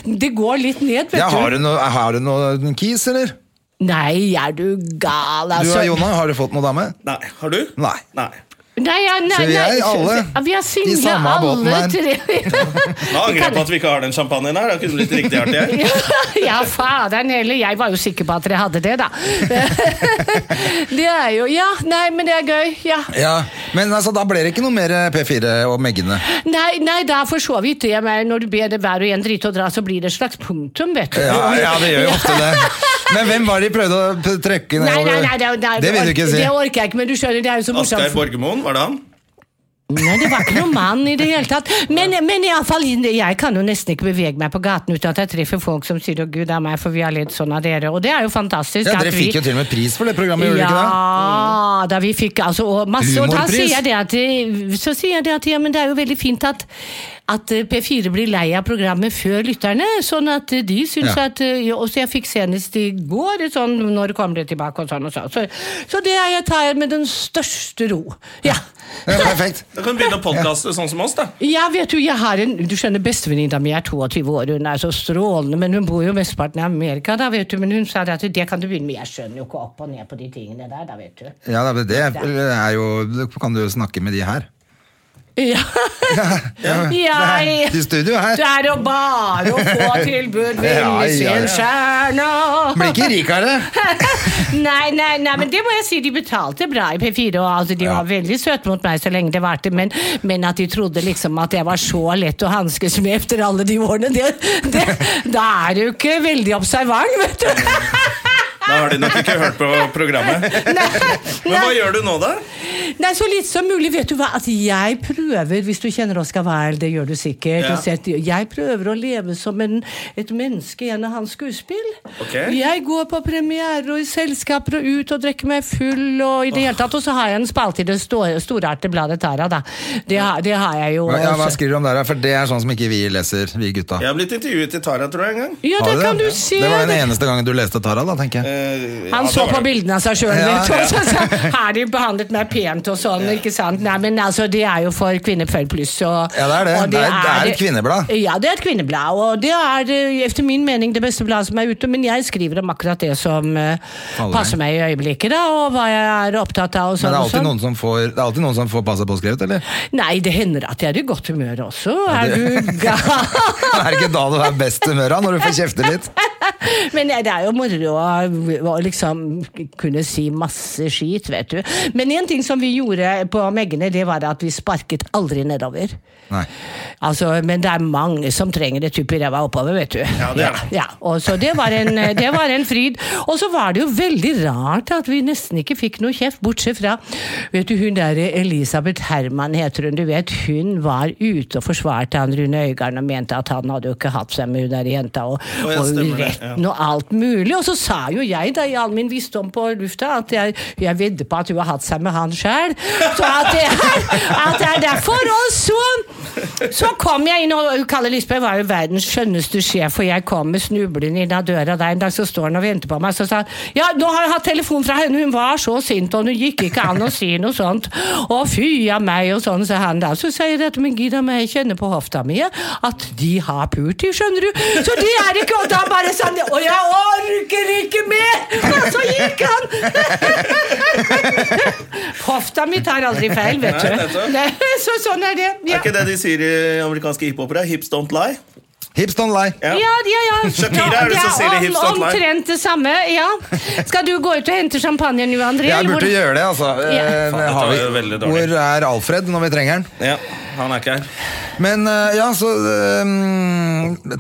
Speaker 3: de går litt ned, vet
Speaker 2: Ja, har
Speaker 3: du.
Speaker 2: du noe, har du noe keys, eller?
Speaker 3: Nei, er du gal,
Speaker 2: Du
Speaker 3: altså.
Speaker 2: og Jonna, har du fått noe dame?
Speaker 1: Nei. Har du?
Speaker 2: Nei.
Speaker 1: Nei.
Speaker 3: Nei, ja, nei,
Speaker 2: Så vi er
Speaker 3: nei,
Speaker 2: alle
Speaker 3: ja, vi er
Speaker 2: i
Speaker 3: single,
Speaker 2: samme båten
Speaker 3: alle
Speaker 2: her.
Speaker 3: tre.
Speaker 1: Nå angrer jeg på at vi ikke har den champagnen her. Det kunne blitt riktig artig. her.
Speaker 3: ja, faderen heller. Jeg var jo sikker på at dere hadde det, da. det er jo Ja, nei, men det er gøy. Ja.
Speaker 2: Ja, Men altså, da ble det ikke noe mer eh, P4 og Meggene.
Speaker 3: Nei, nei, da for så vidt. det, men Når du ber det hver og en drite og dra, så blir det et slags punktum, vet du.
Speaker 2: Ja, ja, det gjør jo ofte det. Men hvem var det de prøvde å p- trekke
Speaker 3: Nei,
Speaker 2: nedover?
Speaker 3: nei, nei, det, det,
Speaker 2: det vil du ikke si.
Speaker 3: Det orker jeg ikke, men du skjønner, det er jo så
Speaker 1: Asgeir
Speaker 3: morsomt.
Speaker 1: Borgermoen, var det han?
Speaker 3: Nei, det var ikke noen mann i det hele tatt. Men, men i alle fall, jeg kan jo nesten ikke bevege meg på gaten uten at jeg treffer folk som sier 'Å, gud det er meg', for vi har ledd sånn av dere. Og det er jo fantastisk.
Speaker 2: Ja,
Speaker 3: at
Speaker 2: Dere
Speaker 3: vi-
Speaker 2: fikk jo til og med pris for det programmet, gjorde dere ikke det?
Speaker 3: Ja, da vi fikk altså og masse, og da
Speaker 2: Humorpris.
Speaker 3: sier jeg det at, så sier jeg det at ja, men det er jo veldig fint at, at P4 blir lei av programmet før lytterne, sånn at de syns
Speaker 2: Ja.
Speaker 3: at eh, ja, Og så jeg fikk senest i går et sånn når kommer det tilbake og sånn og sånn. Så, så det er jeg tar jeg med den største ro. Ja.
Speaker 2: Ja, perfekt.
Speaker 1: Da kan du begynne å podkaste sånn som oss, da.
Speaker 3: Jeg vet jo, jeg har en, du skjønner, Bestevenninna mi er 22 år, hun er så strålende, men hun bor jo mesteparten i Amerika. da vet du, Men hun sa det at det kan du begynne med, jeg skjønner jo ikke opp og ned på de tingene der. da vet du.
Speaker 2: Ja, da, men det er jo da Kan du jo snakke med de her?
Speaker 3: Ja.
Speaker 2: Det er-
Speaker 3: Jeg
Speaker 2: De studio her.
Speaker 3: Det er jo bare å få
Speaker 2: Ja,
Speaker 3: tilbud,
Speaker 2: ja, ja.
Speaker 3: vinne sin stjerne
Speaker 2: Blir ikke rikere.
Speaker 3: Nei, nei, nei, men det må jeg si, de betalte bra i P4. Og altså, de var veldig søte mot meg så lenge det varte, men, men at de trodde liksom at jeg var så lett å hanskes med etter alle de årene, det, det, da er du ikke veldig observant, vet du.
Speaker 1: Da har de nok ikke hørt på programmet. Men hva gjør du nå, da?
Speaker 3: Nei, så litt som mulig, vet du hva. At jeg prøver, hvis du kjenner Oscar Wilde, det gjør du sikkert,
Speaker 1: Ja.
Speaker 3: og sett- jeg prøver å leve som en, et menneske gjennom hans skuespill.
Speaker 1: Ok.
Speaker 3: Jeg går på premierer og i selskaper og ut og drikker meg full og i det hele tatt. Og så har jeg en spalte i det sto- storartede bladet Tara, da. Det, har- det har jeg jo.
Speaker 2: Hva- Ja, hva
Speaker 3: også.
Speaker 2: skriver du om der, da? for det er sånn som ikke vi leser, vi gutta.
Speaker 1: Jeg har blitt intervjuet i Tara, tror jeg, en gang.
Speaker 3: ja,
Speaker 2: Har
Speaker 3: det kan du
Speaker 2: Ja.
Speaker 3: se.
Speaker 2: Det var den eneste gangen du leste Tara, da, tenker jeg.
Speaker 1: Eh, ja,
Speaker 3: Han
Speaker 1: det
Speaker 3: så
Speaker 1: var
Speaker 3: på
Speaker 1: det.
Speaker 3: bildene av seg sjøl,
Speaker 2: Ja,
Speaker 3: vet du. og så sa han, Har de behandlet meg pent og sånn, ikke sant? Nei, men altså, det er jo for kvinnefølg pluss og
Speaker 2: Ja, det er det.
Speaker 3: og
Speaker 2: Det er- det er et kvinneblad.
Speaker 3: Ja, det er et kvinneblad, og det er eh, etter min mening det beste bladet som er ute, men jeg skriver om akkurat det som eh,
Speaker 2: Faller deg.
Speaker 3: passer meg i øyeblikket, da, og hva jeg er opptatt av og
Speaker 2: Men
Speaker 3: sånn.
Speaker 2: det er
Speaker 3: og
Speaker 2: alltid
Speaker 3: sånn.
Speaker 2: noen som får, det er alltid noen som får passet påskrevet, eller?
Speaker 3: Nei, det hender at jeg er i godt humør også. Er du gal?
Speaker 2: Er det ikke da du er best humør av, når du får kjefte litt?
Speaker 3: Men det er jo moro å, å liksom kunne si masse skit, vet du. Men en ting som vi gjorde på Meggene, det var at vi sparket aldri nedover.
Speaker 2: Nei.
Speaker 3: Altså, men det er mange som trenger et tupp i ræva oppover, vet du.
Speaker 1: Ja, det er det.
Speaker 3: Ja, og så det var, en, det var en fryd. Og så var det jo veldig rart at vi nesten ikke fikk noe kjeft, bortsett fra Vet du, hun der Elisabeth Herman heter hun, du vet, hun var ute og forsvarte han Rune Øygarden og mente at han hadde jo ikke hatt seg med hun der jenta, og,
Speaker 1: Å, ja,
Speaker 3: og
Speaker 1: stemmer det, ja.
Speaker 3: retten og alt mulig. Og så sa jo jeg da i all min visdom på lufta at jeg, jeg vedder på at hun har hatt seg med han sjæl, så at det er, at det er derfor. Og så så kom jeg inn, og Kalle Lisbeth var jo verdens skjønneste sjef, og jeg kom med snublende inn av døra der en dag, så står han og venter på meg, så sa han ja, nå har jeg hatt telefon fra henne, hun var så sint, og hun gikk ikke an å si noe sånt, å fy av meg, og sånn, sa han da. Så sier jeg at men gidda meg, jeg kjenner på hofta mi jeg, at de har pult, de, skjønner du, så de er ikke, og da bare sånn, og jeg orker ikke mer, og så gikk han. hofta mi tar aldri feil, vet
Speaker 1: Nei,
Speaker 3: du.
Speaker 1: nettopp.
Speaker 3: Nei, så sånn er det.
Speaker 1: Er
Speaker 3: Ja.
Speaker 1: ikke det de sier i amerikanske hiphopere? Hips don't lie.
Speaker 2: Hips don't lie.
Speaker 1: Ja.
Speaker 3: Ja, ja, ja.
Speaker 1: Shakira
Speaker 3: ja,
Speaker 1: er det som sier det
Speaker 3: om-
Speaker 1: hipster til meg.
Speaker 3: Omtrent det samme, ja. Skal du gå ut og hente champagne nå, André?
Speaker 2: Jeg
Speaker 3: eller
Speaker 2: burde
Speaker 3: hvor-
Speaker 2: gjøre det, altså.
Speaker 3: Ja.
Speaker 2: Eh,
Speaker 1: Faen, dette
Speaker 2: har vi-
Speaker 1: var jo veldig dårlig.
Speaker 2: Hvor er Alfred når vi trenger han?
Speaker 1: Ja, han er ikke her.
Speaker 2: Men eh, ja, så eh,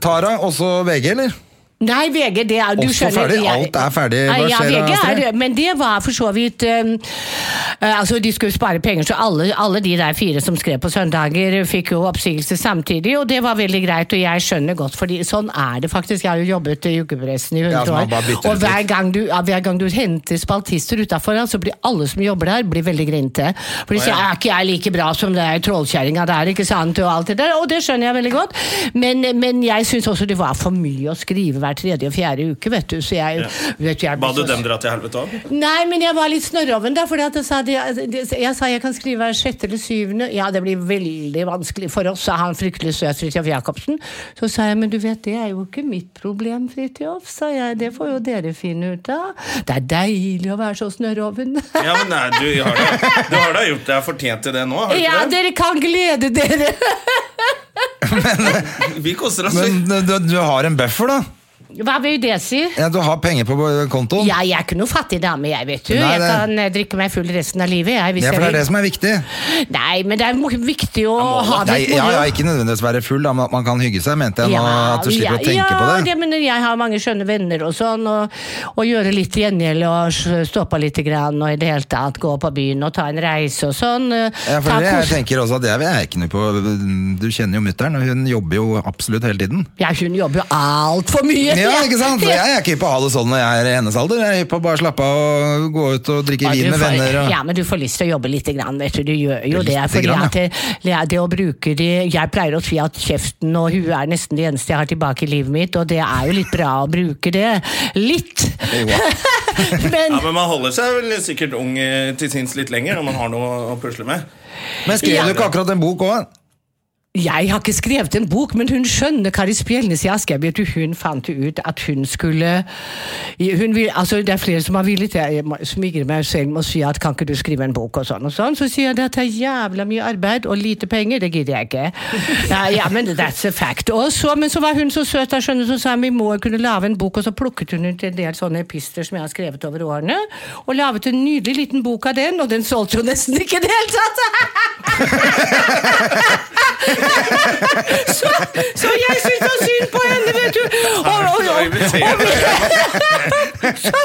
Speaker 2: Tara, også VG, eller?
Speaker 3: Nei, VG, det er du
Speaker 2: Også
Speaker 3: skjønner
Speaker 2: ferdig?
Speaker 3: jeg-
Speaker 2: Alt er ferdig? Hva
Speaker 3: Nei, Ja,
Speaker 2: skjer da,
Speaker 3: VG
Speaker 2: Astrid?
Speaker 3: er Men det var for så vidt um, eh, Altså, de skulle spare penger, så alle, alle de der fire som skrev på søndager, fikk jo oppsigelse samtidig, og det var veldig greit, og jeg skjønner godt, fordi sånn er det faktisk. Jeg har jo jobbet i ukepressen i 100
Speaker 2: Ja, så man
Speaker 3: år,
Speaker 2: bare bytter
Speaker 3: og
Speaker 2: ut
Speaker 3: hver
Speaker 2: litt.
Speaker 3: gang du, ja, hver gang du henter spaltister utafor, så blir alle som jobber der, blir veldig grinte. For de sier er ikke jeg like bra som det er trollkjerringa der, ikke sant, og alt det der. Og det skjønner jeg veldig godt, men, men jeg syns også det var for mye å skrive hver hver tredje og fjerde uke, vet du. Så jeg, vet du, jeg ble
Speaker 1: Ba du
Speaker 3: så-
Speaker 1: dem dra til helvete òg?
Speaker 3: Nei, men jeg var litt snørroven, da. For jeg sa det- det- jeg sa jeg kan skrive hver sjette eller syvende. Ja, det blir veldig vanskelig for oss, sa han fryktelig søt Fridtjof Jacobsen. Så sa jeg, men du vet, det er jo ikke mitt problem, Fridtjof, sa jeg. Det får jo dere finne ut av. Det er deilig å være så snørroven.
Speaker 1: Ja, men nei, du har da, du har da gjort deg fortjent til det nå? Har du
Speaker 3: Ja,
Speaker 1: ikke det?
Speaker 3: dere kan glede dere!
Speaker 1: Vi koser
Speaker 3: Altså-
Speaker 1: oss.
Speaker 2: Men eh, du, du- du har en buffer, da.
Speaker 3: Hva vil det si?
Speaker 2: Ja, du har penger på kontoen.
Speaker 3: Ja, jeg er ikke noe fattig dame, jeg, vet du.
Speaker 2: Nei,
Speaker 3: jeg
Speaker 2: det-
Speaker 3: kan eh, drikke meg full resten av livet, jeg. Hvis
Speaker 2: Ja, for det
Speaker 3: jeg
Speaker 2: er det
Speaker 3: vil.
Speaker 2: som er viktig.
Speaker 3: Nei, men det er mo- viktig å ha det
Speaker 2: Nei,
Speaker 3: litt
Speaker 2: ja,
Speaker 3: moro.
Speaker 2: ja, ikke nødvendigvis være full, da, men at man kan hygge seg, mente jeg. nå,
Speaker 3: Ja,
Speaker 2: at du slipper
Speaker 3: ja,
Speaker 2: å tenke
Speaker 3: ja,
Speaker 2: på det.
Speaker 3: det. men jeg har mange skjønne venner og sånn, og, og gjøre litt gjengjeld og s- stå på litt grann, og i det hele tatt gå på byen og ta en reise og sånn. eh,
Speaker 2: Ja, for
Speaker 3: ta
Speaker 2: det, jeg
Speaker 3: kos-
Speaker 2: tenker også at jeg, jeg er ikke noe på Du kjenner jo mutter'n, og hun jobber jo absolutt hele tiden.
Speaker 3: ja, hun jobber jo altfor mye!
Speaker 2: Ja, ikke sant? For Jeg er ikke hypp på å ha det sånn når jeg er i hennes alder. Jeg er hypp på å bare slappe av og gå ut og drikke
Speaker 3: Ja,
Speaker 2: vin
Speaker 3: du
Speaker 2: med
Speaker 3: får-
Speaker 2: venner. Og...
Speaker 3: Ja, men du får lyst til å jobbe lite grann, vet du. Du gjør jo
Speaker 2: Lite
Speaker 3: det. Fordi
Speaker 2: grann, ja.
Speaker 3: at det, det- det å bruke de Jeg pleier å si at kjeften og huet er nesten det eneste jeg har tilbake i livet mitt, og det er jo litt bra å bruke det. Litt!
Speaker 1: Ja,
Speaker 3: men
Speaker 1: men Man holder seg vel sikkert ung eh, til sinns litt lenger når man har noe å pusle med.
Speaker 2: Men skrev
Speaker 3: Ja.
Speaker 2: du ikke akkurat en bok òg?
Speaker 3: Jeg har ikke skrevet en bok, men hun skjønner Kari Spjelnes i Askeby. Hun fant ut at hun skulle hun vil, altså Det er flere som har villet Jeg må- smigrer meg selv med å si at kan ikke du skrive en bok og sånn og sånn. Så sier jeg at det er jævla mye arbeid og lite penger. Det gidder jeg ikke. Ja, ja men that's a fact. Og så, men så var hun så søt, da, skjønner du, så sa hun vi må kunne lage en bok, og så plukket hun ut en del sånne epister som jeg har skrevet over årene, og laget en nydelig liten bok av den, og den solgte jo nesten ikke i det hele tatt! Så, så jeg syntes så synd på henne, vet du. Og, og, og, og, så,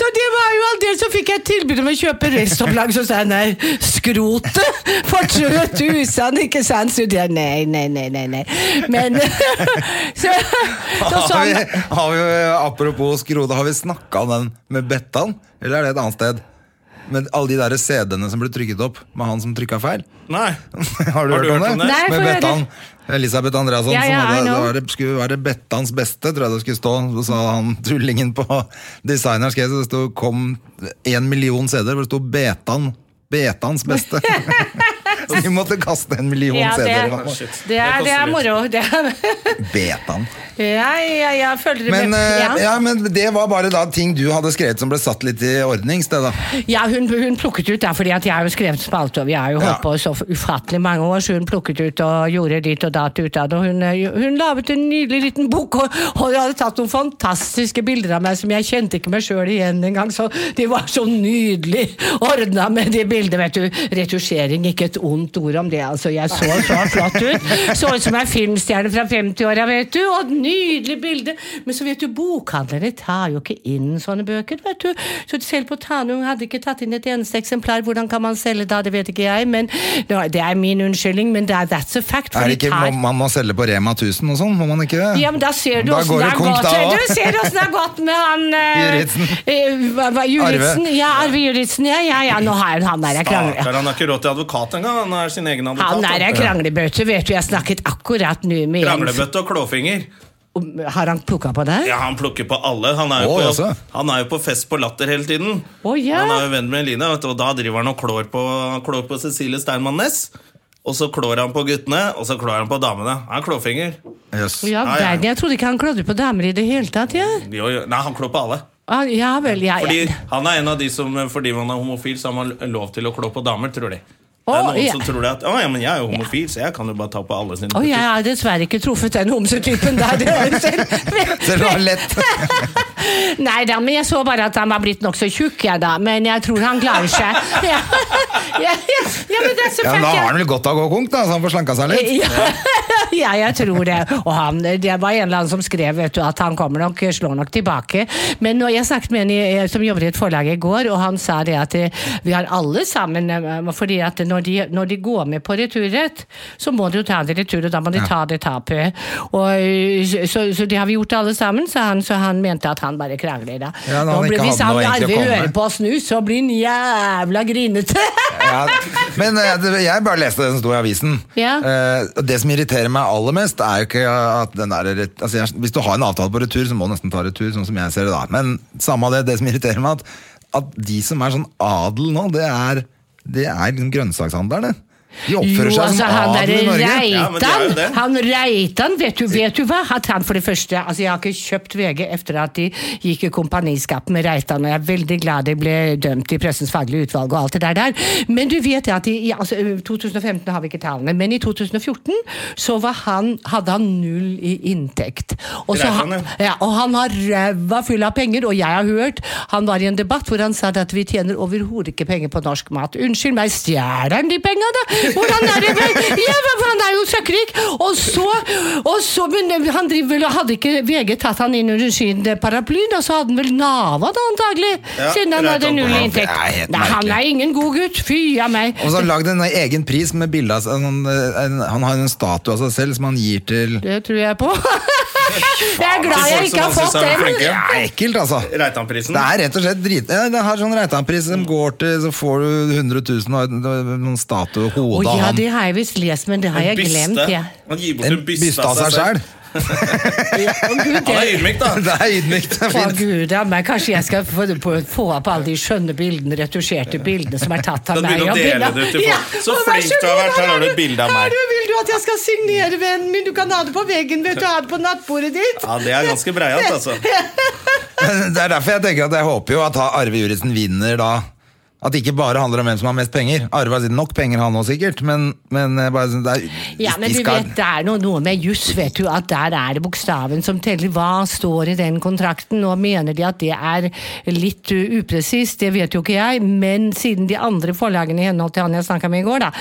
Speaker 3: så det var jo aldeles Så fikk jeg tilbud om å kjøpe restopplag, så sa jeg nei, skrotet. Fortrøtt usann, ikke sant? Så det, nei, nei, nei, nei, nei. Men så, så sa
Speaker 2: Har vi,
Speaker 3: han
Speaker 2: har vi, apropos skrote, har vi snakka om den med Bettan? Eller er det et annet sted? Med alle de der CD-ene som ble trykket opp med han som trykka feil?
Speaker 1: Nei.
Speaker 2: Har du, hørt om det?
Speaker 3: Nei,
Speaker 2: Med
Speaker 3: få høre.
Speaker 2: Bettan. Elisabeth Andreasson.
Speaker 3: Ja,
Speaker 2: som
Speaker 3: ja, I
Speaker 2: hadde, det
Speaker 3: know.
Speaker 2: var, det skulle være Bettans beste, tror jeg det skulle stå. Så sa han tullingen på designeren skrev så det sto kom en million CD-er, hvor det sto Betan. Betans beste. Så de måtte kaste en million
Speaker 3: ja, det,
Speaker 2: CD-er.
Speaker 3: det, er, det er moro. Det er,
Speaker 2: Betan.
Speaker 3: ja, ja, ja, følger du
Speaker 2: Men,
Speaker 3: med?
Speaker 2: eh, ja, men det var bare da ting du hadde skrevet som ble satt litt i ordning. Steda.
Speaker 3: Ja, hun, hun plukket ut, da, fordi at jeg har jo skrevet spalte, og vi har jo holdt
Speaker 2: Ja.
Speaker 3: på så ufattelig mange år, så hun plukket ut og gjorde dit og datt ut av det. og Hun, eh, hun laget en nydelig liten bok, og, og jeg hadde tatt noen fantastiske bilder av meg som jeg kjente ikke meg sjøl igjen engang, så de var så nydelig ordna med de bildene, vet du. Retusjering, ikke et ondt ord om det, altså. Jeg så så flott ut. Så ut som ei filmstjerne fra 50-åra, vet du. Og et nydelig bilde. Men så vet du, bokhandlere tar jo ikke inn sånne bøker, vet du. Så selv på Tanum hadde ikke tatt inn et eneste eksemplar. Hvordan kan man selge da, det vet ikke jeg, men nå, det er min unnskyldning, men det er that's a fact. for
Speaker 2: Er det
Speaker 3: de
Speaker 2: ikke,
Speaker 3: tar-
Speaker 2: må, man må selge på Rema 1000 og sånn, må man ikke det?
Speaker 3: ja, men da ser du
Speaker 2: Da
Speaker 3: åssen
Speaker 2: går
Speaker 3: det
Speaker 2: det
Speaker 3: har
Speaker 2: konk
Speaker 3: gått.
Speaker 2: da også.
Speaker 3: Du ser åssen det har gått med han eh,
Speaker 2: Juritzen.
Speaker 3: eh, hva- hva- Juritzen.
Speaker 2: Arve.
Speaker 3: Ja, Arve Juritzen. Ja, ja, ja. Nå har jeg han der jeg krangler.
Speaker 1: Stakkar, han har ikke råd til advokat engang. Han er sin egen advokat.
Speaker 3: Han er
Speaker 1: da.
Speaker 3: ei kranglebøtte, vet du. Jeg snakket akkurat nå med en
Speaker 1: Kranglebøtte og klåfinger.
Speaker 3: Om- Har han plukka på deg?
Speaker 1: Ja, Han plukker på alle. Han er jo,
Speaker 2: Å,
Speaker 1: på,
Speaker 2: jaså.
Speaker 1: han er jo på fest på Latter hele tiden.
Speaker 3: Å, ja.
Speaker 1: Han er jo venn med Eline, vet du, og da driver han og klår på, klår på Cecilie Steinmann Næss. Og så klår han på guttene, og så klår han på damene. Han er klåfinger.
Speaker 2: Jøss.
Speaker 3: Ja,
Speaker 1: Ja, ja.
Speaker 3: verden, Jeg trodde ikke han klødde på damer i det hele tatt. Ja,
Speaker 1: Jo, jo. Nei, han klår på alle.
Speaker 3: ah, ja vel, ja.
Speaker 1: Fordi
Speaker 3: ja.
Speaker 1: han er en av de som, fordi man er homofil, så har man lov til å klå på damer, tror de. Det
Speaker 3: Å,
Speaker 1: er noen
Speaker 3: ja.
Speaker 1: som tror det at, å ja, men jeg er jo homofil, så jeg kan jo bare ta på alle sine
Speaker 3: Å, jeg har dessverre ikke truffet den homsetypen der. Det er jo
Speaker 2: Selv
Speaker 3: selv.
Speaker 2: om det var lett.
Speaker 3: Nei da, men jeg så bare at han var blitt nokså tjukk, jeg da. Men jeg tror han klarer seg. Ja, ja, ja, ja men det er så
Speaker 2: Ja, men da
Speaker 3: fælt,
Speaker 2: har
Speaker 3: ja.
Speaker 2: han vel godt av å gå konk, da, så han får slanka seg litt.
Speaker 3: Eh, Ja, ja, jeg tror det. Og han, det var en eller annen som skrev vet du, at han kommer nok, slår nok tilbake. Men når jeg snakket med en i- eh, som jobber i et forlag i går, og han sa det at eh, vi har alle sammen eh, fordi at når de, når de går med på returrett, så må de jo ta det i retur, og da må de ta det tapet. Og, eh, så, så det har vi gjort alle sammen, sa han, så han mente at han bare krangler, da.
Speaker 2: Ja, da han
Speaker 3: Nå ble-
Speaker 2: ikke
Speaker 3: hvis
Speaker 2: hadde
Speaker 3: han
Speaker 2: noe egentlig å
Speaker 3: aldri
Speaker 2: komme med.
Speaker 3: hører på oss nå, så blir han jævla grinete!
Speaker 2: Ja, men eh, det- jeg bare leste det som sto i avisen.
Speaker 3: Ja.
Speaker 2: Eh, og det som irriterer meg aller mest, er jo ikke at den der ret- altså jeg, Hvis du har en avtale på retur, så må du nesten ta retur, sånn som jeg ser det da. Men samme av det, det som irriterer meg, at, at de som er sånn adel nå, det er, det er liksom grønnsakshandlerne. De oppfører
Speaker 3: Jo,
Speaker 2: seg
Speaker 3: altså,
Speaker 2: som
Speaker 3: han
Speaker 2: adel i
Speaker 3: derre
Speaker 2: Norge.
Speaker 1: Ja, men det er jo det.
Speaker 3: Reitan, han Reitan, vet du, vet du hva? At han for det første Altså, jeg har ikke kjøpt VG etter at de gikk i kompaniskap med Reitan, og jeg er veldig glad de ble dømt i Pressens faglige utvalg og alt det der der. Men du vet det at i i- altså, ø, 2015 har vi ikke tallene, men i 2014 så var han, hadde han null i inntekt. Og så
Speaker 1: Reitan,
Speaker 3: ha-
Speaker 1: ja.
Speaker 3: ja, og han har ræva full av penger, og jeg har hørt Han var i en debatt hvor han sa at vi tjener overhodet ikke penger på norsk mat. Unnskyld meg, stjeler han de penga, da? Hvordan er det vel? Ja, hva- han er jo søkkrik! Og så, og så men han driver vel og Hadde ikke VG tatt han inn under sin paraply, da, så hadde han vel nava, da, antagelig?
Speaker 1: Ja,
Speaker 3: siden han
Speaker 1: Reitan
Speaker 3: hadde
Speaker 1: på
Speaker 3: null
Speaker 1: Nav.
Speaker 3: inntekt.
Speaker 2: Det er helt
Speaker 3: Nei, han
Speaker 2: merkelig.
Speaker 3: er ingen god gutt. Fy a meg.
Speaker 2: Og så har han lagd en egen pris med bilde av seg. Han, en, han har en statue av seg selv som han gir til
Speaker 3: Det tror jeg på. Jeg er glad
Speaker 1: Til
Speaker 3: jeg
Speaker 1: folk
Speaker 3: ikke har
Speaker 1: som han synes
Speaker 3: fått
Speaker 1: er
Speaker 3: den.
Speaker 1: flinke.
Speaker 2: Det er ekkelt, altså.
Speaker 1: Reitanprisen.
Speaker 2: Det er rett og slett drit... Ja, det har sånn Reitan-pris som går til Så får du 100 000 og en- noen statue og
Speaker 3: Å
Speaker 2: hodet av
Speaker 3: ja,
Speaker 2: han.
Speaker 3: det har jeg visst lest, men det har jeg
Speaker 1: Byste.
Speaker 3: glemt. Ja.
Speaker 1: Han gir bort
Speaker 2: En
Speaker 1: en
Speaker 2: byste av seg
Speaker 1: selv.
Speaker 2: sjøl.
Speaker 3: Å, Gud,
Speaker 1: Han er
Speaker 3: det-
Speaker 1: ydmyk, da.
Speaker 2: Det er ydmykt. det er
Speaker 3: Å,
Speaker 2: fint.
Speaker 3: Gud, ja, men kanskje jeg skal få, på- få opp alle de skjønne bildene, retusjerte bildene som er tatt
Speaker 1: Da
Speaker 3: av meg.
Speaker 1: begynner du å
Speaker 3: og
Speaker 1: dele
Speaker 3: bilder-
Speaker 1: det ut til folk. Så
Speaker 3: og vær
Speaker 1: flink
Speaker 3: så
Speaker 1: du har
Speaker 3: god,
Speaker 1: vært, her har du et bilde av
Speaker 3: her
Speaker 1: meg.
Speaker 3: har du- Vil du at jeg skal signere, vennen min? Du kan ha det på veggen, vet du. Ha det på nattbordet ditt.
Speaker 1: Ja, det er ganske breialt, altså.
Speaker 2: Det er derfor jeg tenker at jeg håper jo at ha- Arve Juritzen vinner da. At det ikke bare handler om hvem som har mest penger. Arve har nok penger, han òg sikkert, men, men jeg bare, synes det er,
Speaker 3: Ja, men
Speaker 2: de
Speaker 3: du
Speaker 2: skal-
Speaker 3: vet, det er noe, noe med juss, vet du, at der er det bokstaven som teller. Hva står i den kontrakten? Nå mener de at det er litt uh, upresist, det vet jo ikke jeg, men siden de andre forlagene i henhold til han jeg snakka med i går, da,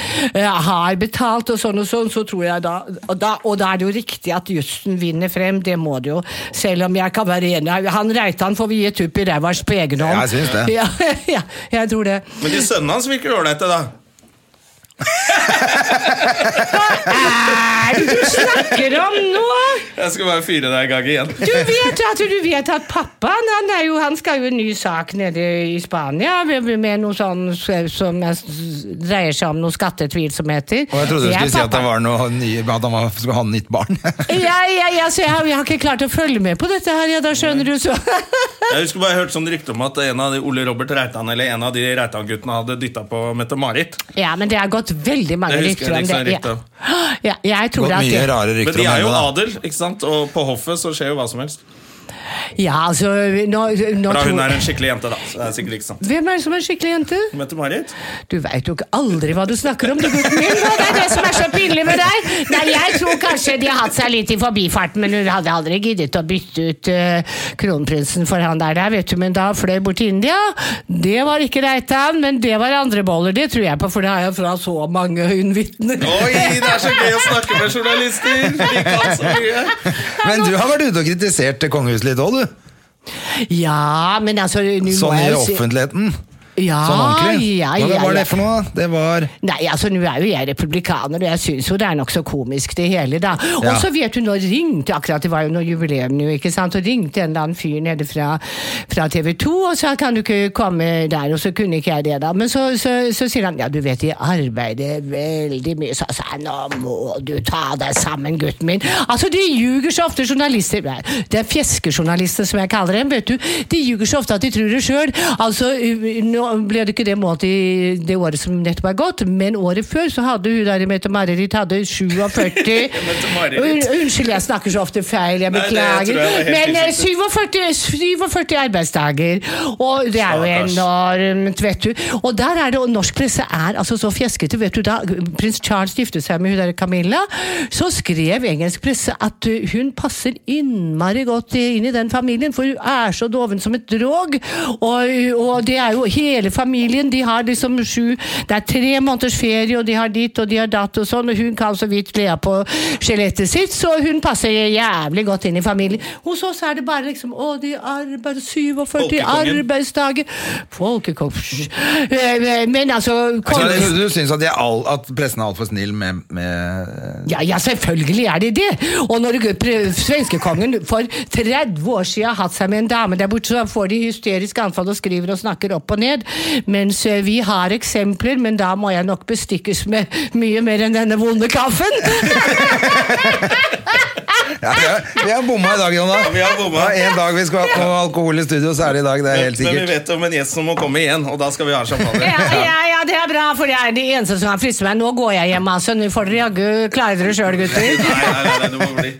Speaker 3: eh, har betalt og sånn og sånn, så tror jeg da Og da, og da er det jo riktig at jussen vinner frem, det må det jo. Selv om jeg kan være enig. Han Reitan får vi gi et tupp i ræva på egen hånd.
Speaker 2: Jeg synes det.
Speaker 3: Ja, ja, jeg tror det.
Speaker 1: Men de sønnene hans virker ålreite, da.
Speaker 3: Hva er det du snakker om nå?
Speaker 1: Jeg skal bare fyre deg i gang igjen.
Speaker 3: Du vet at, du vet at pappaen han, er jo, han skal jo en ny sak nede i Spania med, med noe sånn s- som er s- dreier seg om noe skattetvilsomheter.
Speaker 2: Og jeg trodde du
Speaker 3: Det er
Speaker 2: skulle si at, det
Speaker 3: pappa.
Speaker 2: var noe nye, at han var, skulle ha nytt barn.
Speaker 3: ja, ja, ja, så jeg, har- jeg har ikke klart å følge med på dette her, ja, da skjønner du så.
Speaker 1: Jeg husker bare jeg hørte sånn rykte om at en av de Ole Robert Reitan eller en av de Reitan-guttene hadde dytta på Mette-Marit.
Speaker 3: ja, men det har gått veldig mange
Speaker 1: Det husker
Speaker 3: rykter om
Speaker 1: jeg
Speaker 3: det.
Speaker 1: liksom rykter om.
Speaker 3: Ja. Ja, jeg tror
Speaker 2: Gått
Speaker 3: at
Speaker 2: mye
Speaker 3: det,
Speaker 2: rare
Speaker 1: Men
Speaker 2: rykter
Speaker 1: de
Speaker 2: om
Speaker 1: er jo
Speaker 2: henne, da.
Speaker 1: adel, ikke sant? og på hoffet så skjer jo hva som helst.
Speaker 3: Ja, altså nå, nå
Speaker 1: Bra hun
Speaker 3: tror-
Speaker 1: er en skikkelig jente, da. Så det er sikkert ikke sant.
Speaker 3: Hvem er det som er en skikkelig jente?
Speaker 1: Mette-Marit?
Speaker 3: Du veit jo ikke aldri hva du snakker om, du gutten min. og Det er det som er så pinlig med deg. Nei, Jeg tror kanskje de har hatt seg litt i forbifarten, men hun hadde aldri giddet å bytte ut eh, kronprinsen for han der, der, vet du. Men da han fløy bort til India. Det var ikke Reitan, men det var andre boller. Det tror jeg på, for det har jeg fra så mange øyenvitner.
Speaker 1: Oi, det er så gøy å snakke med journalister! De kan så mye.
Speaker 2: Men du har vært ute og kritisert kongehuset litt òg, du.
Speaker 3: Ja, men altså nå må
Speaker 2: Sånn i
Speaker 3: jeg jo si-
Speaker 2: offentligheten.
Speaker 3: Ja,
Speaker 2: Sånn ordentlig.
Speaker 3: Ja,
Speaker 2: Hva
Speaker 3: ja,
Speaker 2: var det
Speaker 3: ja.
Speaker 2: for noe? da? Det var
Speaker 3: Nei, altså nå er jo jeg republikaner, og jeg syns jo det er nokså komisk det hele, da.
Speaker 2: Ja.
Speaker 3: Og så vet du, nå ringte akkurat det var jo noe jubileum nå, ikke sant, og ringte en eller annen fyr nede fra, fra TV 2 og sa kan du ikke komme der, og så kunne ikke jeg det, da. Men så, så, så sier han ja, du vet de arbeider veldig mye, så sa jeg nå må du ta deg sammen, gutten min. Altså, de ljuger så ofte, journalister. Nei, Det er fjeskejournalister som jeg kaller dem, vet du. De ljuger så ofte at de tror det sjøl. Altså, u- nå ble det ikke det målt i det året som nettopp er gått, men året før så hadde hun der i Mette-Marit hadde 47
Speaker 1: Mette-Marit.
Speaker 3: Un, Unnskyld, jeg snakker så ofte feil, jeg
Speaker 1: Nei, det tror jeg
Speaker 3: beklager.
Speaker 1: var helt
Speaker 3: men eh,
Speaker 1: riktig.
Speaker 3: 47, 47 arbeidsdager, og det er jo
Speaker 1: Stakkars.
Speaker 3: enormt, um, vet du. Og der er det, og norsk presse er altså så fjeskete, vet du, da prins Charles giftet seg med hun der Camilla, så skrev engelsk presse at uh, hun passer innmari godt i- inn i den familien, for hun er så doven som et drog, og, og det er jo hele familien, de har liksom sju, det er tre måneders ferie, og de har ditt, og de har datt og sånn, og hun kan så vidt glede på skjelettet sitt, så hun passer jævlig godt inn i familien. Hos oss er det bare liksom, å, de arbeider 47
Speaker 1: Folkekongen.
Speaker 3: arbeidsdager, folkekong, psj. Eh, eh, men altså,
Speaker 2: Så
Speaker 3: kongen...
Speaker 2: du, du syns at, de er all, at pressen er altfor snill med, med
Speaker 3: Ja, ja, selvfølgelig er det det! Og når pre- svenskekongen for 30 år siden har hatt seg med en dame der borte, så får de hysteriske anfall og skriver og snakker opp og ned. Mens eh, vi har eksempler, men da må jeg nok bestikkes med mye mer enn denne vonde kaffen.
Speaker 2: Ja, vi har- vi har bomma i dag, Jonna.
Speaker 1: Ja, vi har bomma.
Speaker 2: Det var En dag vi skulle hatt noe alkohol i studio, så er det i dag. Det er helt
Speaker 1: Men vi
Speaker 2: sikkert.
Speaker 1: vet om en gjest som må komme igjen, og da skal vi ha champagne.
Speaker 3: Ja, ja, ja, det er bra, for jeg er de eneste som har fristet meg. Nå går jeg hjem, altså. Nå får dere jaggu klare dere sjøl, gutter.
Speaker 1: Nei, nei, nei, nei, det må bli.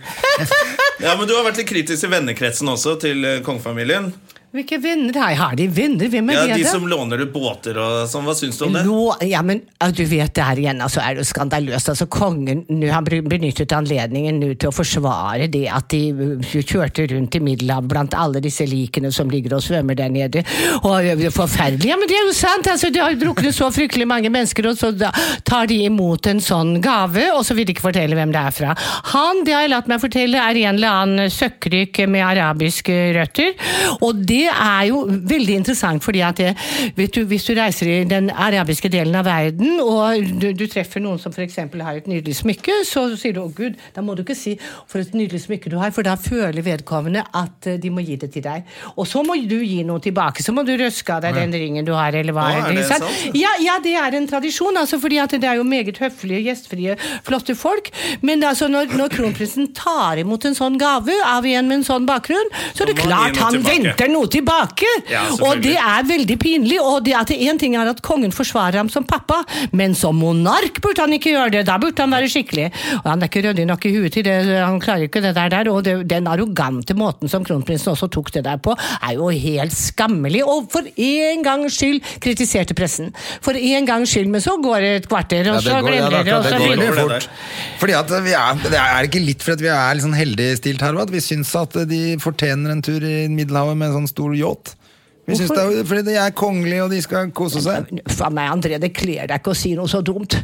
Speaker 1: Ja, men Du har vært litt kritisk i vennekretsen også, til eh, kongefamilien.
Speaker 3: Hvilke venner har jeg? Har de venner? Hvem er
Speaker 1: Ja,
Speaker 3: det?
Speaker 1: De
Speaker 3: da?
Speaker 1: som låner ut båter og sånn. Hva syns du om det?
Speaker 3: Nå, ja, men ja, du vet det her igjen, altså er det jo skandaløst. Altså kongen, nå han br- benyttet anledningen nå til å forsvare det at de uh, kjørte rundt i Middelhavet blant alle disse likene som ligger og svømmer der nede. Og ø, det er forferdelig, ja, men det er jo sant, altså det har jo druknet så fryktelig mange mennesker, og så da tar de imot en sånn gave, og så vil de ikke fortelle hvem det er fra. Han, det har jeg latt meg fortelle, er en eller annen søkkryk med arabiske røtter, og det er jo veldig interessant, fordi at det, vet du, hvis du reiser i den arabiske delen av verden, og du, du treffer noen som f.eks. har et nydelig smykke, så sier du 'Å, Gud', da må du ikke si 'for et nydelig smykke du har', for da føler vedkommende at eh, de må gi det til deg. Og så må du gi noe tilbake. Så må du røske av deg den ringen du har, eller hva
Speaker 1: Å, er
Speaker 3: er det,
Speaker 1: det
Speaker 3: sant?
Speaker 1: sant?
Speaker 3: Ja, ja, det er en tradisjon, altså, fordi at det er jo meget høflige, gjestfrie, flotte folk. Men altså, når, når kronprinsen tar imot en sånn gave av en med en sånn bakgrunn, så er det
Speaker 1: Da må han gi
Speaker 3: klart
Speaker 1: noe
Speaker 3: han
Speaker 1: tilbake.
Speaker 3: venter noe tilbake!
Speaker 1: Ja, selvfølgelig.
Speaker 3: og det er veldig pinlig. Og det at én ting er at kongen forsvarer ham som pappa, men som monark burde han ikke gjøre det. Da burde han være skikkelig. Og han er ikke ryddig nok i huet til det, han klarer ikke det der. der og det, den arrogante måten som kronprinsen også tok det der på, er jo helt skammelig. Og for en gangs skyld kritiserte pressen. For en gangs skyld, men så går det et kvarter, og
Speaker 2: Ja,
Speaker 3: så
Speaker 2: går- ja,
Speaker 3: glemmer
Speaker 2: det er
Speaker 3: dere,
Speaker 2: klart,
Speaker 3: og så
Speaker 2: det går
Speaker 1: videre.
Speaker 3: begynner
Speaker 2: veldig fort. Fordi at vi er, det er ikke litt fordi at vi er litt sånn heldig stilt her, hva? at vi syns at de fortjener en tur i Middelhavet med en sånn stor yacht. Vi syns det er, fordi de er kongelige, og de skal kose seg.
Speaker 3: Faen meg, André, det kler deg ikke å si noe så dumt.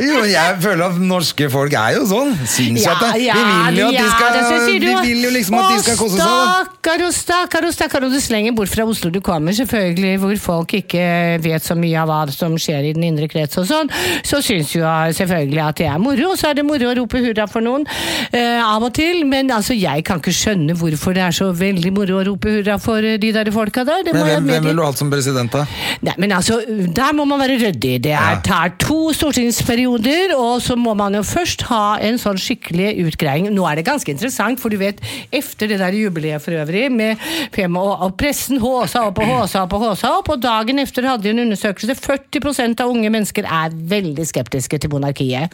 Speaker 2: Jo, jeg føler at norske folk er jo sånn. Syns
Speaker 3: Ja,
Speaker 2: at det.
Speaker 3: ja,
Speaker 2: Vi vil jo at de
Speaker 3: det
Speaker 2: skal,
Speaker 3: synes jeg
Speaker 2: vi
Speaker 3: du-
Speaker 2: vil jo liksom at de skal kose
Speaker 3: Å,
Speaker 2: seg. da.
Speaker 3: Stakkar og stakkar og stakkar, og du slenger bort fra Oslo du kommer, selvfølgelig, hvor folk ikke vet så mye av hva som skjer i den indre krets og sånn, så syns jo jeg selvfølgelig at det er moro, og så er det moro å rope hurra for noen eh, av og til, men altså, jeg kan ikke skjønne hvorfor det er så veldig moro å rope hurra for eh, de der folka der. Det må
Speaker 2: Men
Speaker 3: jeg
Speaker 2: hvem, hvem
Speaker 3: medgi.
Speaker 2: ville du hatt som president, da?
Speaker 3: Nei, men altså, Der må man være ryddig. Det er, tar to stortingsperioder, og så må man jo først ha en sånn skikkelig utgreiing. Nå er det ganske interessant, for du vet, efter det der jubileet for øvrig, med fem, og, og pressen håsa opp og håsa opp og håsa opp, og dagen efter hadde de en undersøkelse 40 av unge mennesker er veldig skeptiske til monarkiet.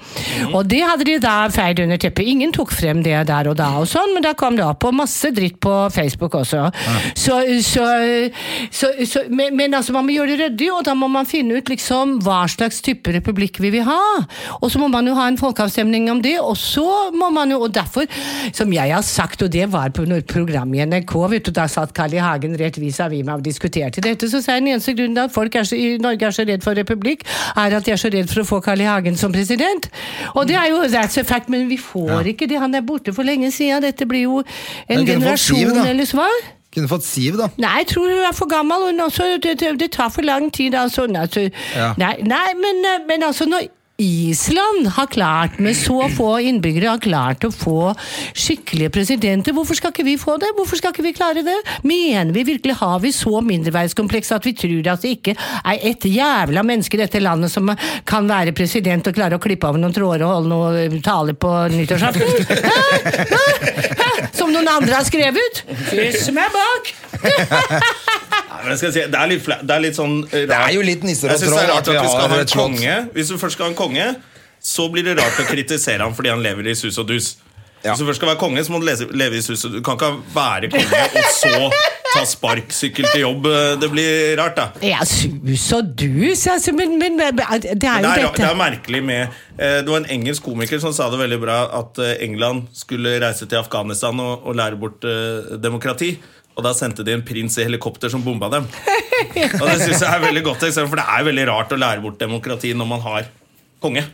Speaker 3: Og det hadde de da feid under teppet. Ingen tok frem det der og da, og sånn, men da kom det opp, og masse dritt på Facebook også. Så, så, så, så, men, men altså, man må gjøre det ryddig, og da må man finne ut liksom hva slags type republikk vi vil ha. Og så må man jo ha en folkeavstemning om det, og så må man jo Og derfor, som jeg har sagt, og det var på noe program i NRK, vet du, da satt Carl I. Hagen rett vis-à-vis meg og diskuterte dette, så sa jeg den eneste grunnen til at folk er så, i Norge er så redd for republikk, er at de er så redd for å få Carl I. Hagen som president. Og det er jo that's a fact, men vi får ikke det. Han er borte for lenge siden. Dette blir jo en
Speaker 2: Men kunne fått Siv,
Speaker 3: generasjon
Speaker 2: da.
Speaker 3: eller svar.
Speaker 2: Kunne fått Siv, da.
Speaker 3: Nei, jeg tror hun er for gammel. Hun også, det, det, det tar for lang tid. Altså. Nei, Altså,
Speaker 2: Ja.
Speaker 3: nei, nei men, eh, men altså når Island har klart, med så få innbyggere, har klart å få skikkelige presidenter. Hvorfor skal ikke vi få det? Hvorfor skal ikke vi klare det? Mener vi virkelig har vi så mindreverdskompleks at vi tror at det ikke er et jævla menneske i dette landet som kan være president og klare å klippe av noen tråder og holde noen taler på nyttårsaften? Hæ? Hæ? Hæ? Som noen andre har skrevet? Kyss meg bak!
Speaker 1: Nei, men jeg skal si, det, er litt fla- det er litt sånn eh,
Speaker 2: Det
Speaker 1: rart.
Speaker 2: er jo litt nisser og
Speaker 1: Jeg synes det
Speaker 2: troll
Speaker 1: er rart
Speaker 2: at vi
Speaker 1: at du
Speaker 2: har
Speaker 1: skal ha
Speaker 2: et
Speaker 1: en
Speaker 2: slott.
Speaker 1: konge. Hvis du først skal ha en konge, så blir det rart å kritisere ham fordi han lever i sus og dus.
Speaker 2: Ja.
Speaker 1: Hvis du først skal være konge, så må du lese, leve i sus og dus. Du kan ikke være konge og så ta sparksykkel til jobb. eh, Det blir rart, da.
Speaker 3: Ja, sus og dus, altså, men, men det er jo
Speaker 1: Det er, det
Speaker 3: dette.
Speaker 1: er merkelig med eh, Det var en engelsk komiker som sa det veldig bra at eh, England skulle reise til Afghanistan og, og lære bort eh, demokrati. Og da sendte de en prins i helikopter som bomba dem. Og det synes jeg er et veldig godt eksempel, for det er veldig rart å lære bort demokrati når man har konge.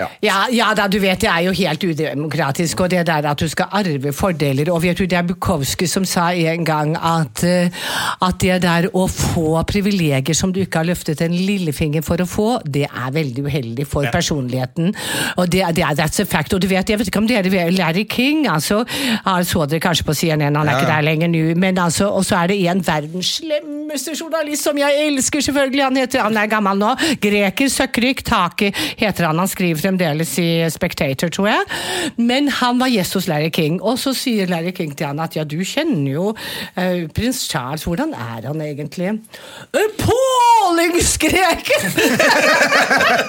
Speaker 2: Ja.
Speaker 3: Ja, ja da, du vet det er jo helt udemokratisk, og det der at du skal arve fordeler Og vet du, det er Bukowski som sa en gang at, eh, at det der å få privilegier som du ikke har løftet en lillefinger for å få, det er veldig uheldig for personligheten. Og det, er- det er that's a fact. Og du vet, jeg vet ikke om dere vet Larry King, altså ja, Så dere kanskje på CNN, han er
Speaker 2: Ja.
Speaker 3: ikke der lenger nå, men altså Og så er det en verdens slemmeste journalist som jeg elsker, selvfølgelig, han heter Han er gammel nå. Greker Søkkryk Taki heter han. Han skriver fremdeles i Spectator, tror jeg. Men han var gjest hos Larry King, og så sier Larry King til han at ja, du kjenner jo eh, prins Charles, hvordan er han egentlig? Eh, En pålingsgrek!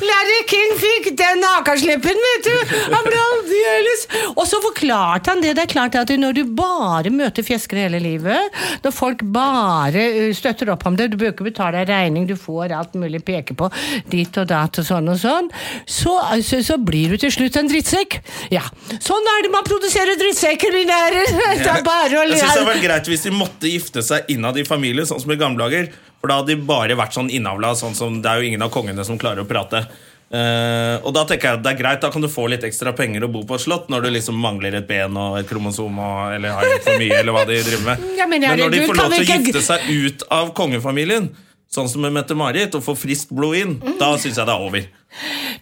Speaker 3: Larry King fikk den akaslippen, vet du! Han ble aldeles Og så forklarte han det. Det er klart at når du bare møter fjeskere hele livet, når folk bare eh, støtter opp om det, du bør ikke betale en regning, du får alt mulig peke på dit og datt og sånn og sånn, så, så, så blir du til slutt en drittsekk. Ja. Sånn er det man produserer drittsekker, mine herrer! Det er bare å
Speaker 1: Jeg
Speaker 3: le.
Speaker 1: synes det hadde vært greit hvis de måtte gifte seg innad i familie, sånn som i gamle dager. For da hadde de bare vært sånn innavla. Sånn som, det er jo ingen av kongene som klarer å prate. Eh, og da tenker jeg at det er greit, da kan du få litt ekstra penger og bo på et slott når du liksom mangler et ben og et kromosom og, eller har for mye, eller hva de driver med.
Speaker 3: Ja, men
Speaker 1: men når de
Speaker 3: herregud,
Speaker 1: får
Speaker 3: kan
Speaker 1: lov til å
Speaker 3: vi ikke-
Speaker 1: gifte seg ut av kongefamilien, sånn som med Mette-Marit, og få friskt blod inn, da syns jeg det er over.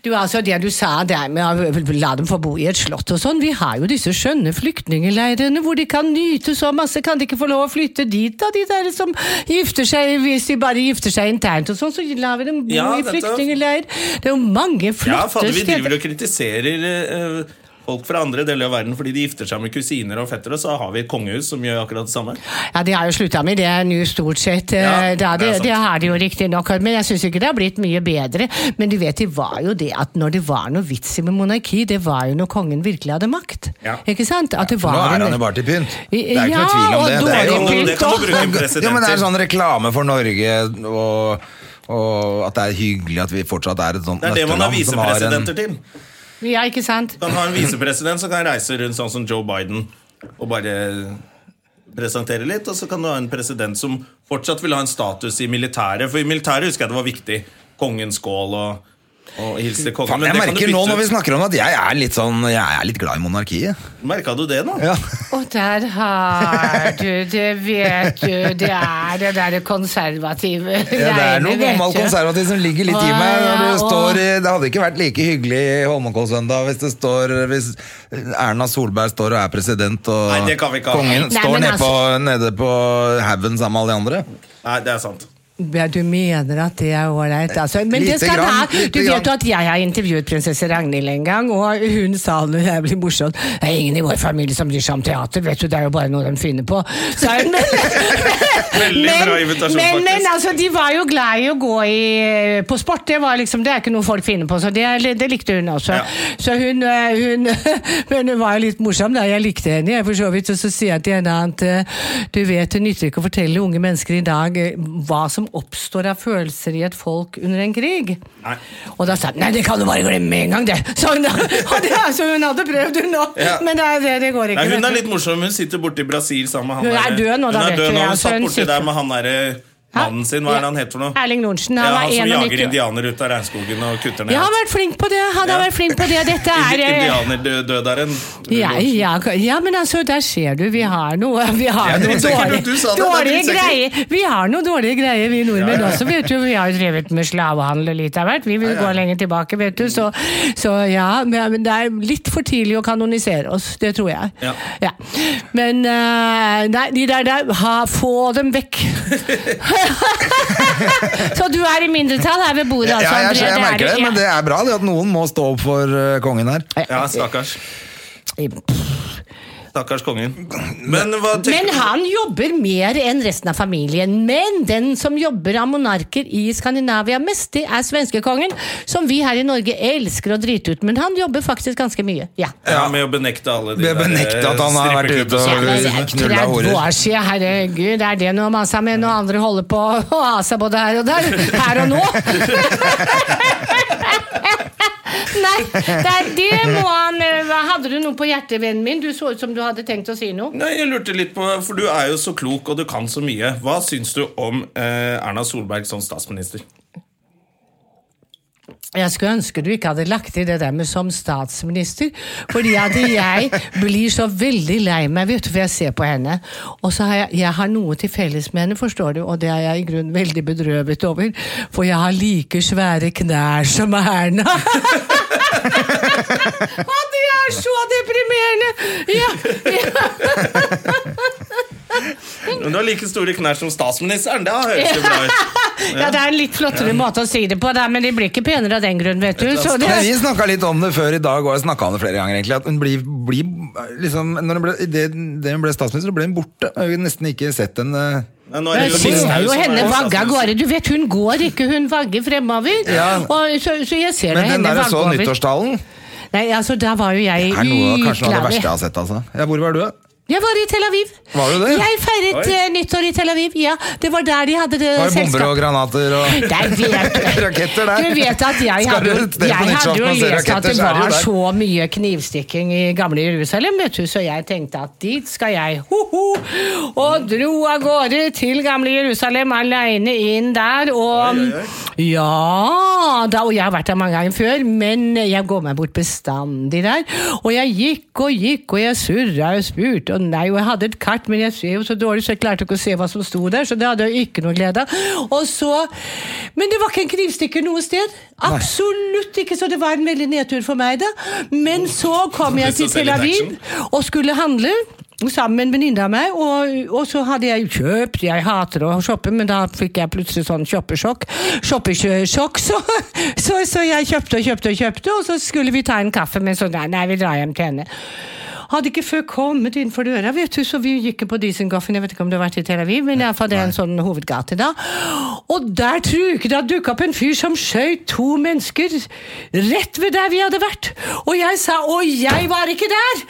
Speaker 3: Du, altså Det du sa der med å la dem få bo i et slott og sånn, vi har jo disse skjønne flyktningeleirene hvor de kan nyte så masse. Kan de ikke få lov å flytte dit, da, de der som gifter seg Hvis de bare gifter seg internt og sånn, så lar vi dem bo
Speaker 1: Ja,
Speaker 3: i
Speaker 1: dette-
Speaker 3: flyktningeleir. Det er jo mange
Speaker 1: Ja,
Speaker 3: flotte
Speaker 1: fader, vi driver
Speaker 3: steder.
Speaker 1: og kritiserer eh, folk fra andre deler av verden fordi de gifter seg med kusiner og fettere, så har vi et kongehus som gjør akkurat det samme.
Speaker 3: Ja, de har jo slutta med det nå, stort sett.
Speaker 1: Ja,
Speaker 3: eh, da,
Speaker 1: det er
Speaker 3: det,
Speaker 1: sant.
Speaker 3: det har de jo riktignok, men jeg syns ikke det har blitt mye bedre. Men du vet, det var jo det at når det var noe vits i med monarki, det var jo når kongen virkelig hadde makt.
Speaker 1: Ja.
Speaker 3: Ikke sant? At det
Speaker 2: Nå
Speaker 3: var
Speaker 2: er
Speaker 3: en-
Speaker 2: han jo bare til pynt. Det er ikke
Speaker 3: Ja,
Speaker 2: noe tvil om
Speaker 3: og
Speaker 2: det. Det er jo
Speaker 3: dårlig pynt,
Speaker 1: Det kan du
Speaker 3: da.
Speaker 1: bruke en
Speaker 2: Jo,
Speaker 1: president
Speaker 2: men det er
Speaker 1: til.
Speaker 2: sånn reklame for Norge og, og at det er hyggelig at vi fortsatt er et sånt
Speaker 1: Det er det man har
Speaker 2: nøtteland som har en-
Speaker 1: visepresidenter til.
Speaker 3: Ja, ikke sant?
Speaker 1: Kan ha en visepresident som kan reise rundt sånn som Joe Biden og bare presentere litt, og så kan du ha en president som fortsatt vil ha en status i militæret, for i militæret husker jeg det var viktig. Kongen skål og, og hilse kongen.
Speaker 2: Faen, jeg
Speaker 1: men det kan du
Speaker 2: merker nå
Speaker 1: bytte
Speaker 2: når vi
Speaker 1: ut.
Speaker 2: snakker om at jeg er litt sånn Jeg er litt glad i monarkiet.
Speaker 1: Merka du det nå?
Speaker 2: Ja.
Speaker 3: Og der har du det, vet du. Det er det derre konservative
Speaker 2: Ja, det er
Speaker 3: greiene,
Speaker 2: noe
Speaker 3: vet
Speaker 2: gammel
Speaker 3: du.
Speaker 2: konservativ som ligger litt i
Speaker 3: Å,
Speaker 2: meg. Når
Speaker 3: ja,
Speaker 2: det,
Speaker 3: og-
Speaker 2: står, i- det hadde ikke vært like hyggelig i Holmenkollsøndag hvis det står Hvis Erna Solberg står og er president, og
Speaker 1: Nei, det kan vi ikke ha.
Speaker 2: kongen
Speaker 3: Nei,
Speaker 2: står
Speaker 3: men altså-
Speaker 2: nede på, nede på haugen sammen med alle de andre.
Speaker 1: Nei, det er sant.
Speaker 3: Ja, du mener at det er ålreit, altså. Men
Speaker 2: Lite
Speaker 3: det skal
Speaker 2: grann, lite
Speaker 3: det her. Du
Speaker 2: grann.
Speaker 3: vet jo at jeg har intervjuet prinsesse Ragnhild en gang, og hun sa noe jævlig morsomt. Det er ingen i vår familie som bryr seg om teater, vet du, det er jo bare noe de finner på. Sa hun. Men,
Speaker 1: Veldig bra invitasjon,
Speaker 3: men, men
Speaker 1: faktisk.
Speaker 3: altså, de var jo glad i å gå i, på sport, det var liksom, det er ikke noe folk finner på, så det, det likte hun også.
Speaker 1: Ja.
Speaker 3: Så hun, eh, hun Men hun var jo litt morsom, da. Jeg likte henne, jeg, for så vidt. Og så sier jeg til henne at eh, du vet, det nytter ikke å fortelle unge mennesker i dag eh, hva som oppstår av følelser i et folk under en krig.
Speaker 1: Nei.
Speaker 3: Og da sa hun nei, det kan du bare glemme med en gang, det. Så hun, og det er så hun hadde prøvd, hun òg.
Speaker 1: Ja.
Speaker 3: Men det, er det, det går ikke.
Speaker 1: Nei, hun
Speaker 3: vet
Speaker 1: er
Speaker 3: du.
Speaker 1: litt morsom. Hun sitter borte i Brasil sammen med han der-
Speaker 3: Hun er
Speaker 1: eh,
Speaker 3: død nå, da
Speaker 1: Hun er
Speaker 3: vet
Speaker 1: død
Speaker 3: du,
Speaker 1: nå.
Speaker 3: ja,
Speaker 1: Hun
Speaker 3: så
Speaker 1: satt
Speaker 3: hun
Speaker 1: borti
Speaker 3: sitter-
Speaker 1: der med han derre mannen sin. Hva er det han heter for noe?
Speaker 3: Erling Lorentzen. Han,
Speaker 1: ja,
Speaker 3: var
Speaker 1: han som
Speaker 3: 91.
Speaker 1: jager indianere ut av regnskogen og kutter ned
Speaker 3: Ja, han har vært flink på det. Han har
Speaker 1: Ja.
Speaker 3: vært flink på det. Dette er eh,
Speaker 1: indianerdødaren.
Speaker 3: Ja, ja, ka- ja, men altså, der ser du, vi har noe, vi
Speaker 1: Jeg
Speaker 3: har
Speaker 1: er
Speaker 3: noe
Speaker 1: drittsikker, men du sa det,
Speaker 3: dårlige,
Speaker 1: det er
Speaker 3: dårlige
Speaker 1: drittsikker.
Speaker 3: greier. Vi har noe dårlige greier, vi nordmenn også, vet du. Vi har jo drevet med slavehandel og litt av hvert. Vi vil gå lenger tilbake, vet du. Så, så ja, men men det er litt for tidlig å kanonisere oss, det tror jeg.
Speaker 1: Ja.
Speaker 3: Men eh, nei, de der, der ha, få dem vekk. så du er i mindretall her ved bordet,
Speaker 2: Ja,
Speaker 3: altså,
Speaker 2: jeg, jeg,
Speaker 3: André. er-
Speaker 2: merker det, men det er bra det at noen må stå opp for eh, kongen her.
Speaker 1: Ja, stakkars. Stakkars kongen. Men hva
Speaker 3: Men
Speaker 1: tenker du?
Speaker 3: han jobber mer enn resten av familien. Men den som jobber av monarker i Skandinavia mest, det er svenskekongen, som vi her i Norge elsker å drite ut. Men han jobber faktisk ganske mye. Ja.
Speaker 1: Ja, med å benekte alle de eh,
Speaker 2: Ved å benekte at han har vært ute
Speaker 3: Ja, men det
Speaker 2: og
Speaker 3: er
Speaker 2: knulla
Speaker 3: 30
Speaker 2: horer.
Speaker 3: år siden, herregud. Er det noe man sa med når andre holder på å ha seg både her og der? Her og nå? Nei, det, er, det må han eh, Hadde du noe på hjertet, vennen min? Du så ut som du hadde tenkt å si noe.
Speaker 1: Nei, jeg lurte litt på, for Du er jo så klok, og du kan så mye. Hva syns du om eh, Erna Solberg som statsminister?
Speaker 3: Jeg skulle ønske du ikke hadde lagt til det der med som statsminister, fordi at jeg blir så veldig lei meg, vet du, for jeg ser på henne. Og så har jeg, jeg har noe til felles med henne, forstår du, og det er jeg i grunnen veldig bedrøvet over, for jeg har like svære knær som Erna. og det er så deprimerende! Ja, ja.
Speaker 1: Men du har like store knær som statsministeren. Da høres det bra ut.
Speaker 3: ja, det er en litt flottere måte å si det på, da, men de blir ikke penere av den grunn, vet du. Så det
Speaker 2: Men vi snakka litt om det før i dag, og jeg snakka om det flere ganger. egentlig At hun blir, blir liksom når hun ble, det, det hun ble statsminister, så ble hun borte. Jeg har nesten ikke sett henne eh,
Speaker 1: Men nå er
Speaker 3: Jeg
Speaker 1: det jo
Speaker 2: synes
Speaker 3: ser
Speaker 1: Listhaug
Speaker 3: jo
Speaker 1: som
Speaker 3: henne
Speaker 1: er
Speaker 3: vagge av
Speaker 1: statsminister.
Speaker 3: gårde. Du vet, hun går ikke, hun vagger fremover.
Speaker 2: Ja.
Speaker 3: Og, så, så jeg ser
Speaker 2: Men den
Speaker 3: henne
Speaker 2: der jeg
Speaker 3: vagge
Speaker 2: så
Speaker 3: over.
Speaker 2: nyttårstalen,
Speaker 3: Nei, altså, der var jo jeg i
Speaker 2: er noe av kanskje noe av det verste jeg
Speaker 3: utlandet.
Speaker 2: har sett. altså ja, Hvor var du, da?
Speaker 3: Jeg var i Tel Aviv.
Speaker 2: Var du det?
Speaker 3: Jeg feiret
Speaker 1: Oi.
Speaker 3: eh, nyttår i Tel Aviv, ja. Det var der de hadde det
Speaker 2: Var det bomber og
Speaker 3: selskapet.
Speaker 2: granater og
Speaker 3: Nei, vet du.
Speaker 2: raketter der?
Speaker 3: Du vet at jeg
Speaker 2: Skal
Speaker 3: hadde,
Speaker 2: du
Speaker 3: jo-
Speaker 2: dele på
Speaker 3: jeg hadde
Speaker 2: nyttårsaften
Speaker 3: jo
Speaker 2: og se
Speaker 3: lest at
Speaker 2: raketter,
Speaker 3: det
Speaker 2: så er det jo
Speaker 3: var
Speaker 2: der.
Speaker 3: så mye knivstikking i gamle Jerusalem, vet du, så jeg tenkte at dit skal jeg, ho-ho, og dro av gårde til gamle Jerusalem alene inn der, og ja, da, og jeg har vært der mange ganger før, men jeg går meg bort bestandig der, og jeg gikk og gikk, og jeg surra og spurte, og nei, og jeg hadde et kart, men jeg ser jo så dårlig, så jeg klarte ikke å se hva som sto der, så det hadde jeg ikke noe glede av. Og så, men det var ikke en knivstikker noe sted. Absolutt ikke, så det var en veldig nedtur for meg, da. Men så kom jeg
Speaker 1: Lyst til
Speaker 3: til
Speaker 1: å se
Speaker 3: Tel
Speaker 1: litt
Speaker 3: Aviv og skulle handle. Sammen med en venninne av meg, og, og så hadde jeg jo kjøpt Jeg hater å shoppe, men da fikk jeg plutselig sånn shoppesjokk. Shoppesjokk, så, så, så jeg kjøpte og kjøpte og kjøpte, og så skulle vi ta en kaffe, men så nei, nei, vi drar hjem til henne. Hadde ikke før kommet innenfor døra, vet du, så vi gikk på Diesengaffen. Jeg vet ikke om du har vært i Tel Aviv, men iallfall det er en sånn hovedgate da. Og der truket det dukka opp en fyr som skjøt to mennesker rett ved der vi hadde vært. Og jeg sa 'Å, jeg var ikke der'!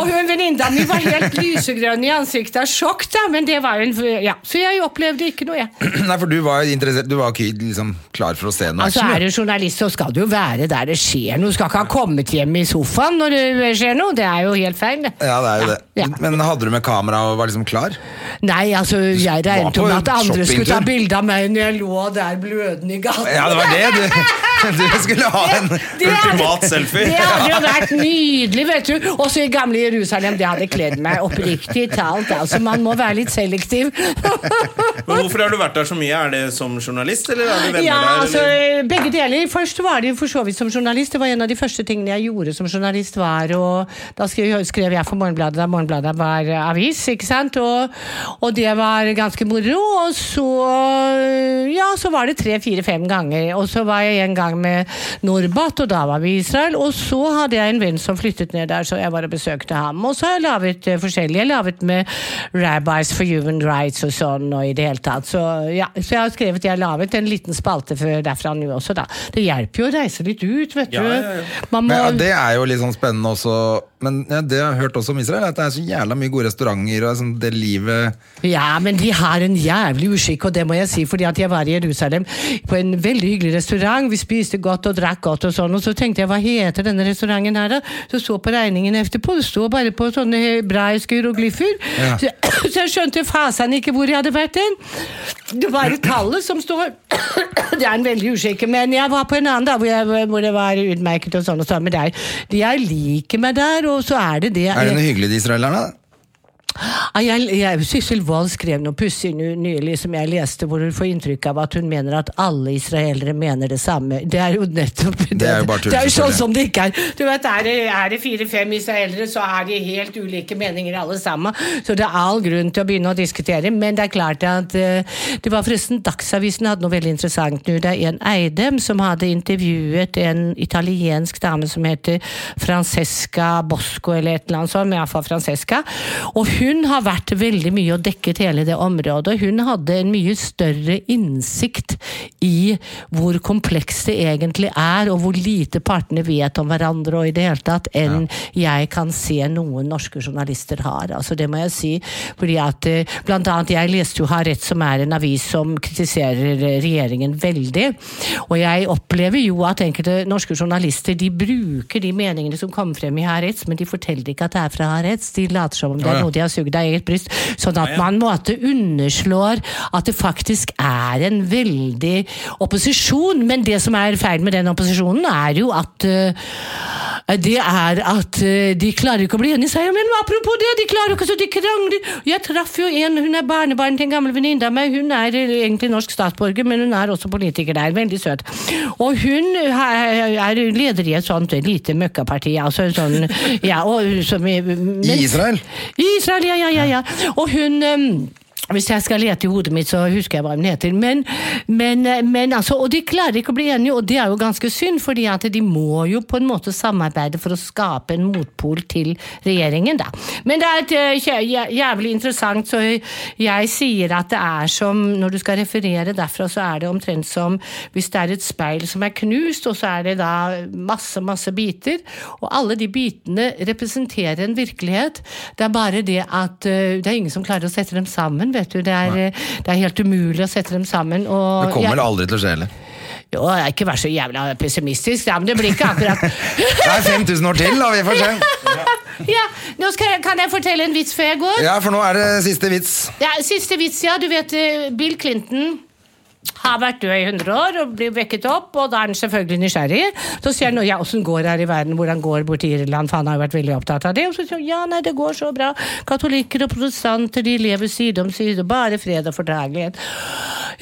Speaker 3: Og hun venninna mi var helt lysegrønn i ansiktet av sjokk, da, men det var jo en Ja, så jeg opplevde ikke noe, jeg.
Speaker 2: Nei, for du var interessert Du var ikke liksom klar for å se noe
Speaker 3: Altså
Speaker 2: action,
Speaker 3: Er du journalist, så skal du jo være der det skjer noe. Du skal ikke ha kommet hjem i sofaen når det skjer noe. Det er jo helt feil. det.
Speaker 2: Ja, det er jo det.
Speaker 3: Ja.
Speaker 2: Men hadde du med kamera og var liksom klar?
Speaker 3: Nei, altså, jeg
Speaker 2: var
Speaker 3: regnet
Speaker 2: på
Speaker 3: med at andre
Speaker 2: shoppingtur.
Speaker 3: skulle ta bilde av meg når jeg lå der blødende i gaten.
Speaker 2: Ja, det var det! Du, du skulle ha en
Speaker 3: Det hadde-
Speaker 1: Ultimat selfie.
Speaker 3: Det hadde jo vært nydelig, vet du. Også i gamle Jerusalem. Det hadde kledd meg oppriktig talt. Altså, man må være litt selektiv.
Speaker 1: Men hvorfor har du vært der så mye? Er det som journalist, eller er det venner
Speaker 3: Ja,
Speaker 1: der?
Speaker 3: altså,
Speaker 1: eller?
Speaker 3: begge deler. Først var det jo for så vidt som journalist. Det var en av de første tingene jeg gjorde som journalist. var, og Da skrev, skrev jeg for Morgenbladet da Morgenbladet var eh, avis, ikke sant? Og, og det var ganske moro. Og så ja, så var det tre-fire-fem ganger. Og så var jeg en gang med Norbat, og da var vi i Israel. Og så hadde jeg en venn som flyttet ned der, så jeg bare besøkte ham. Og så har jeg laget eh, forskjellige. Jeg har laget med Rabbis for Human Rights og sånn, og i det hele tatt. Så, ja, så jeg har skrevet Jeg har laget en liten spalte for derfra nå også, da. Det hjelper jo å reise litt ut, vet du.
Speaker 1: Ja, ja, ja.
Speaker 3: Man må
Speaker 2: Men ja, Det er jo litt sånn spennende også. Men ja, det jeg har hørt også om Israel, er at det er så jævla mye gode restauranter og sånn, det livet
Speaker 3: Ja, men de har en jævlig uskikk, og det må jeg si, fordi at jeg var i Jerusalem på en veldig hyggelig restaurant. Vi spiste godt og drakk godt og sånn, og så tenkte jeg hva heter denne restauranten her, da? Så så på regningen etterpå, det står bare på sånne hebraiske hieroglyfer.
Speaker 2: Ja.
Speaker 3: Så, så jeg skjønte fasen ikke hvor jeg hadde vært hen. Det var et tallet som står Det er en veldig uskikk, men jeg var på en annen, da, hvor, jeg, hvor det var utmerket og sånn og sånn, men der, jeg liker meg der, og så er det det
Speaker 2: Er det noe hyggelig de israelerne? da?
Speaker 3: ja, Ah, Jeg, jeg, Sissel Wold skrev noe pussig nu- nylig som jeg leste, hvor hun får inntrykk av at hun mener at alle israelere mener det samme. Det er jo nettopp Det,
Speaker 2: er jo bare tull,
Speaker 3: det er jo sånn
Speaker 2: selvfølgelig.
Speaker 3: som det ikke er. Du vet, Er det, er det fire-fem israelere, så er de helt ulike meninger alle sammen. Så det er all grunn til å begynne å diskutere. Men det er klart at eh, Det var forresten Dagsavisen hadde noe veldig interessant nå. Det er en Eidem som hadde intervjuet en italiensk dame som heter Francesca Bosco, eller et eller annet sånt, men iallfall Francesca. Og hun har vært veldig mye og dekket hele det området. Hun hadde en mye større innsikt i hvor komplekst det egentlig er, og hvor lite partene vet om hverandre og i det hele tatt, enn jeg kan se noen norske journalister har. Altså Det må jeg si. Fordi at eh, blant annet jeg leste jo Harett, som er en avis som kritiserer eh, regjeringen veldig. Og jeg opplever jo at enkelte norske journalister de bruker de meningene som kommer frem i Harets, men de forteller ikke at det er fra Harets. De later som om det
Speaker 2: Å,
Speaker 3: er
Speaker 2: ja.
Speaker 3: noe de har sugd av eget bryst. Sånn at man måte underslår at det faktisk er en veldig opposisjon. Men det som er feil med den opposisjonen, er jo at eh, det er at eh, de klarer ikke å bli enige, sier jeg. Men apropos det, de klarer ikke så de krangler. Jeg traff jo en, hun er barnebarn til en gammel venninne av meg. Hun er eh, egentlig norsk statsborger, men hun er også politiker der. Veldig søt. Og hun er er leder i et sånt lite møkkaparti, altså en sånn ja, og, som i,
Speaker 2: I Israel?
Speaker 3: I Israel, ja, ja, ja. ja. Og hun ehm, hvis jeg skal lete i hodet mitt, så husker jeg hva hun heter. Men, men, men altså, Og de klarer ikke å bli enige, og det er jo ganske synd, fordi at de må jo på en måte samarbeide for å skape en motpol til regjeringen, da. Men det er et eh, jæ- jæ- jævlig interessant, så jeg sier at det er som Når du skal referere derfra, så er det omtrent som hvis det er et speil som er knust, og så er det da masse, masse biter, og alle de bitene representerer en virkelighet. Det er bare det at eh, det er ingen som klarer å sette dem sammen, vet du. Det er, eh, det er helt umulig å sette dem sammen. Og
Speaker 2: Det kommer
Speaker 3: jeg,
Speaker 2: vel aldri til å skje heller.
Speaker 3: jo, jeg er ikke vær så jævla pessimistisk, ja, men det blir ikke akkurat
Speaker 2: Det er 5000 år til, da. Vi får se.
Speaker 3: Ja, nå skal, jeg- kan jeg fortelle en vits før jeg går?
Speaker 2: Ja, for nå er det siste vits.
Speaker 3: Ja, siste vits, ja. Du vet eh, Bill Clinton har vært død i 100 år og blir vekket opp, og da er han selvfølgelig nysgjerrig. Så sier han ja, åssen går det her i verden, hvordan går det borti Irland, for han har jo vært veldig opptatt av det. Og så sier han ja, nei, det går så bra. Katolikker og protestanter, de lever side om side, bare fred og fordragelighet.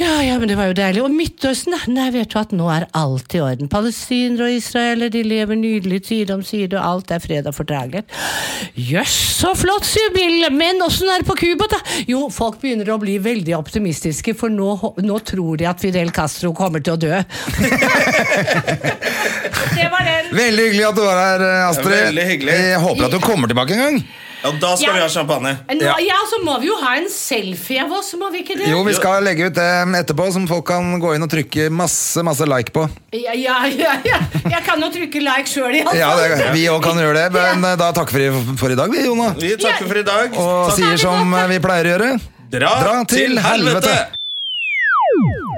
Speaker 3: Ja, ja, men det var jo deilig. Og Midtøsten, da? nei, vet du at nå er alt i orden. Palestinere og israelere, de lever nydelig side om side, og alt er fred og fordragelighet. Jøss, så flott, sier Bill, men åssen er det på Cuba, da? Jo, folk begynner å bli veldig optimistiske, for nå, hå- nå tror de at Fidel Castro kommer til å dø. det var den.
Speaker 2: Veldig hyggelig at du var her, eh, Astrid.
Speaker 1: Veldig hyggelig.
Speaker 2: Jeg håper at du kommer tilbake en gang.
Speaker 1: Ja, da skal
Speaker 3: Ja.
Speaker 1: vi ha champagne.
Speaker 3: Nå,
Speaker 2: Ja.
Speaker 3: ja, så må vi jo ha en selfie av oss, må vi ikke det?
Speaker 2: Jo, vi skal legge ut det etterpå, som folk kan gå inn og trykke masse masse like på.
Speaker 3: Ja, ja, ja, ja. Jeg kan jo trykke like sjøl, iallfall.
Speaker 2: Ja, det, Vi òg kan gjøre det, men eh, da takker vi for- for i dag, vi, Jona.
Speaker 1: Vi takker for i dag.
Speaker 2: Og
Speaker 1: Takk.
Speaker 2: sier som eh, vi pleier å gjøre.
Speaker 1: Dra, til helvete!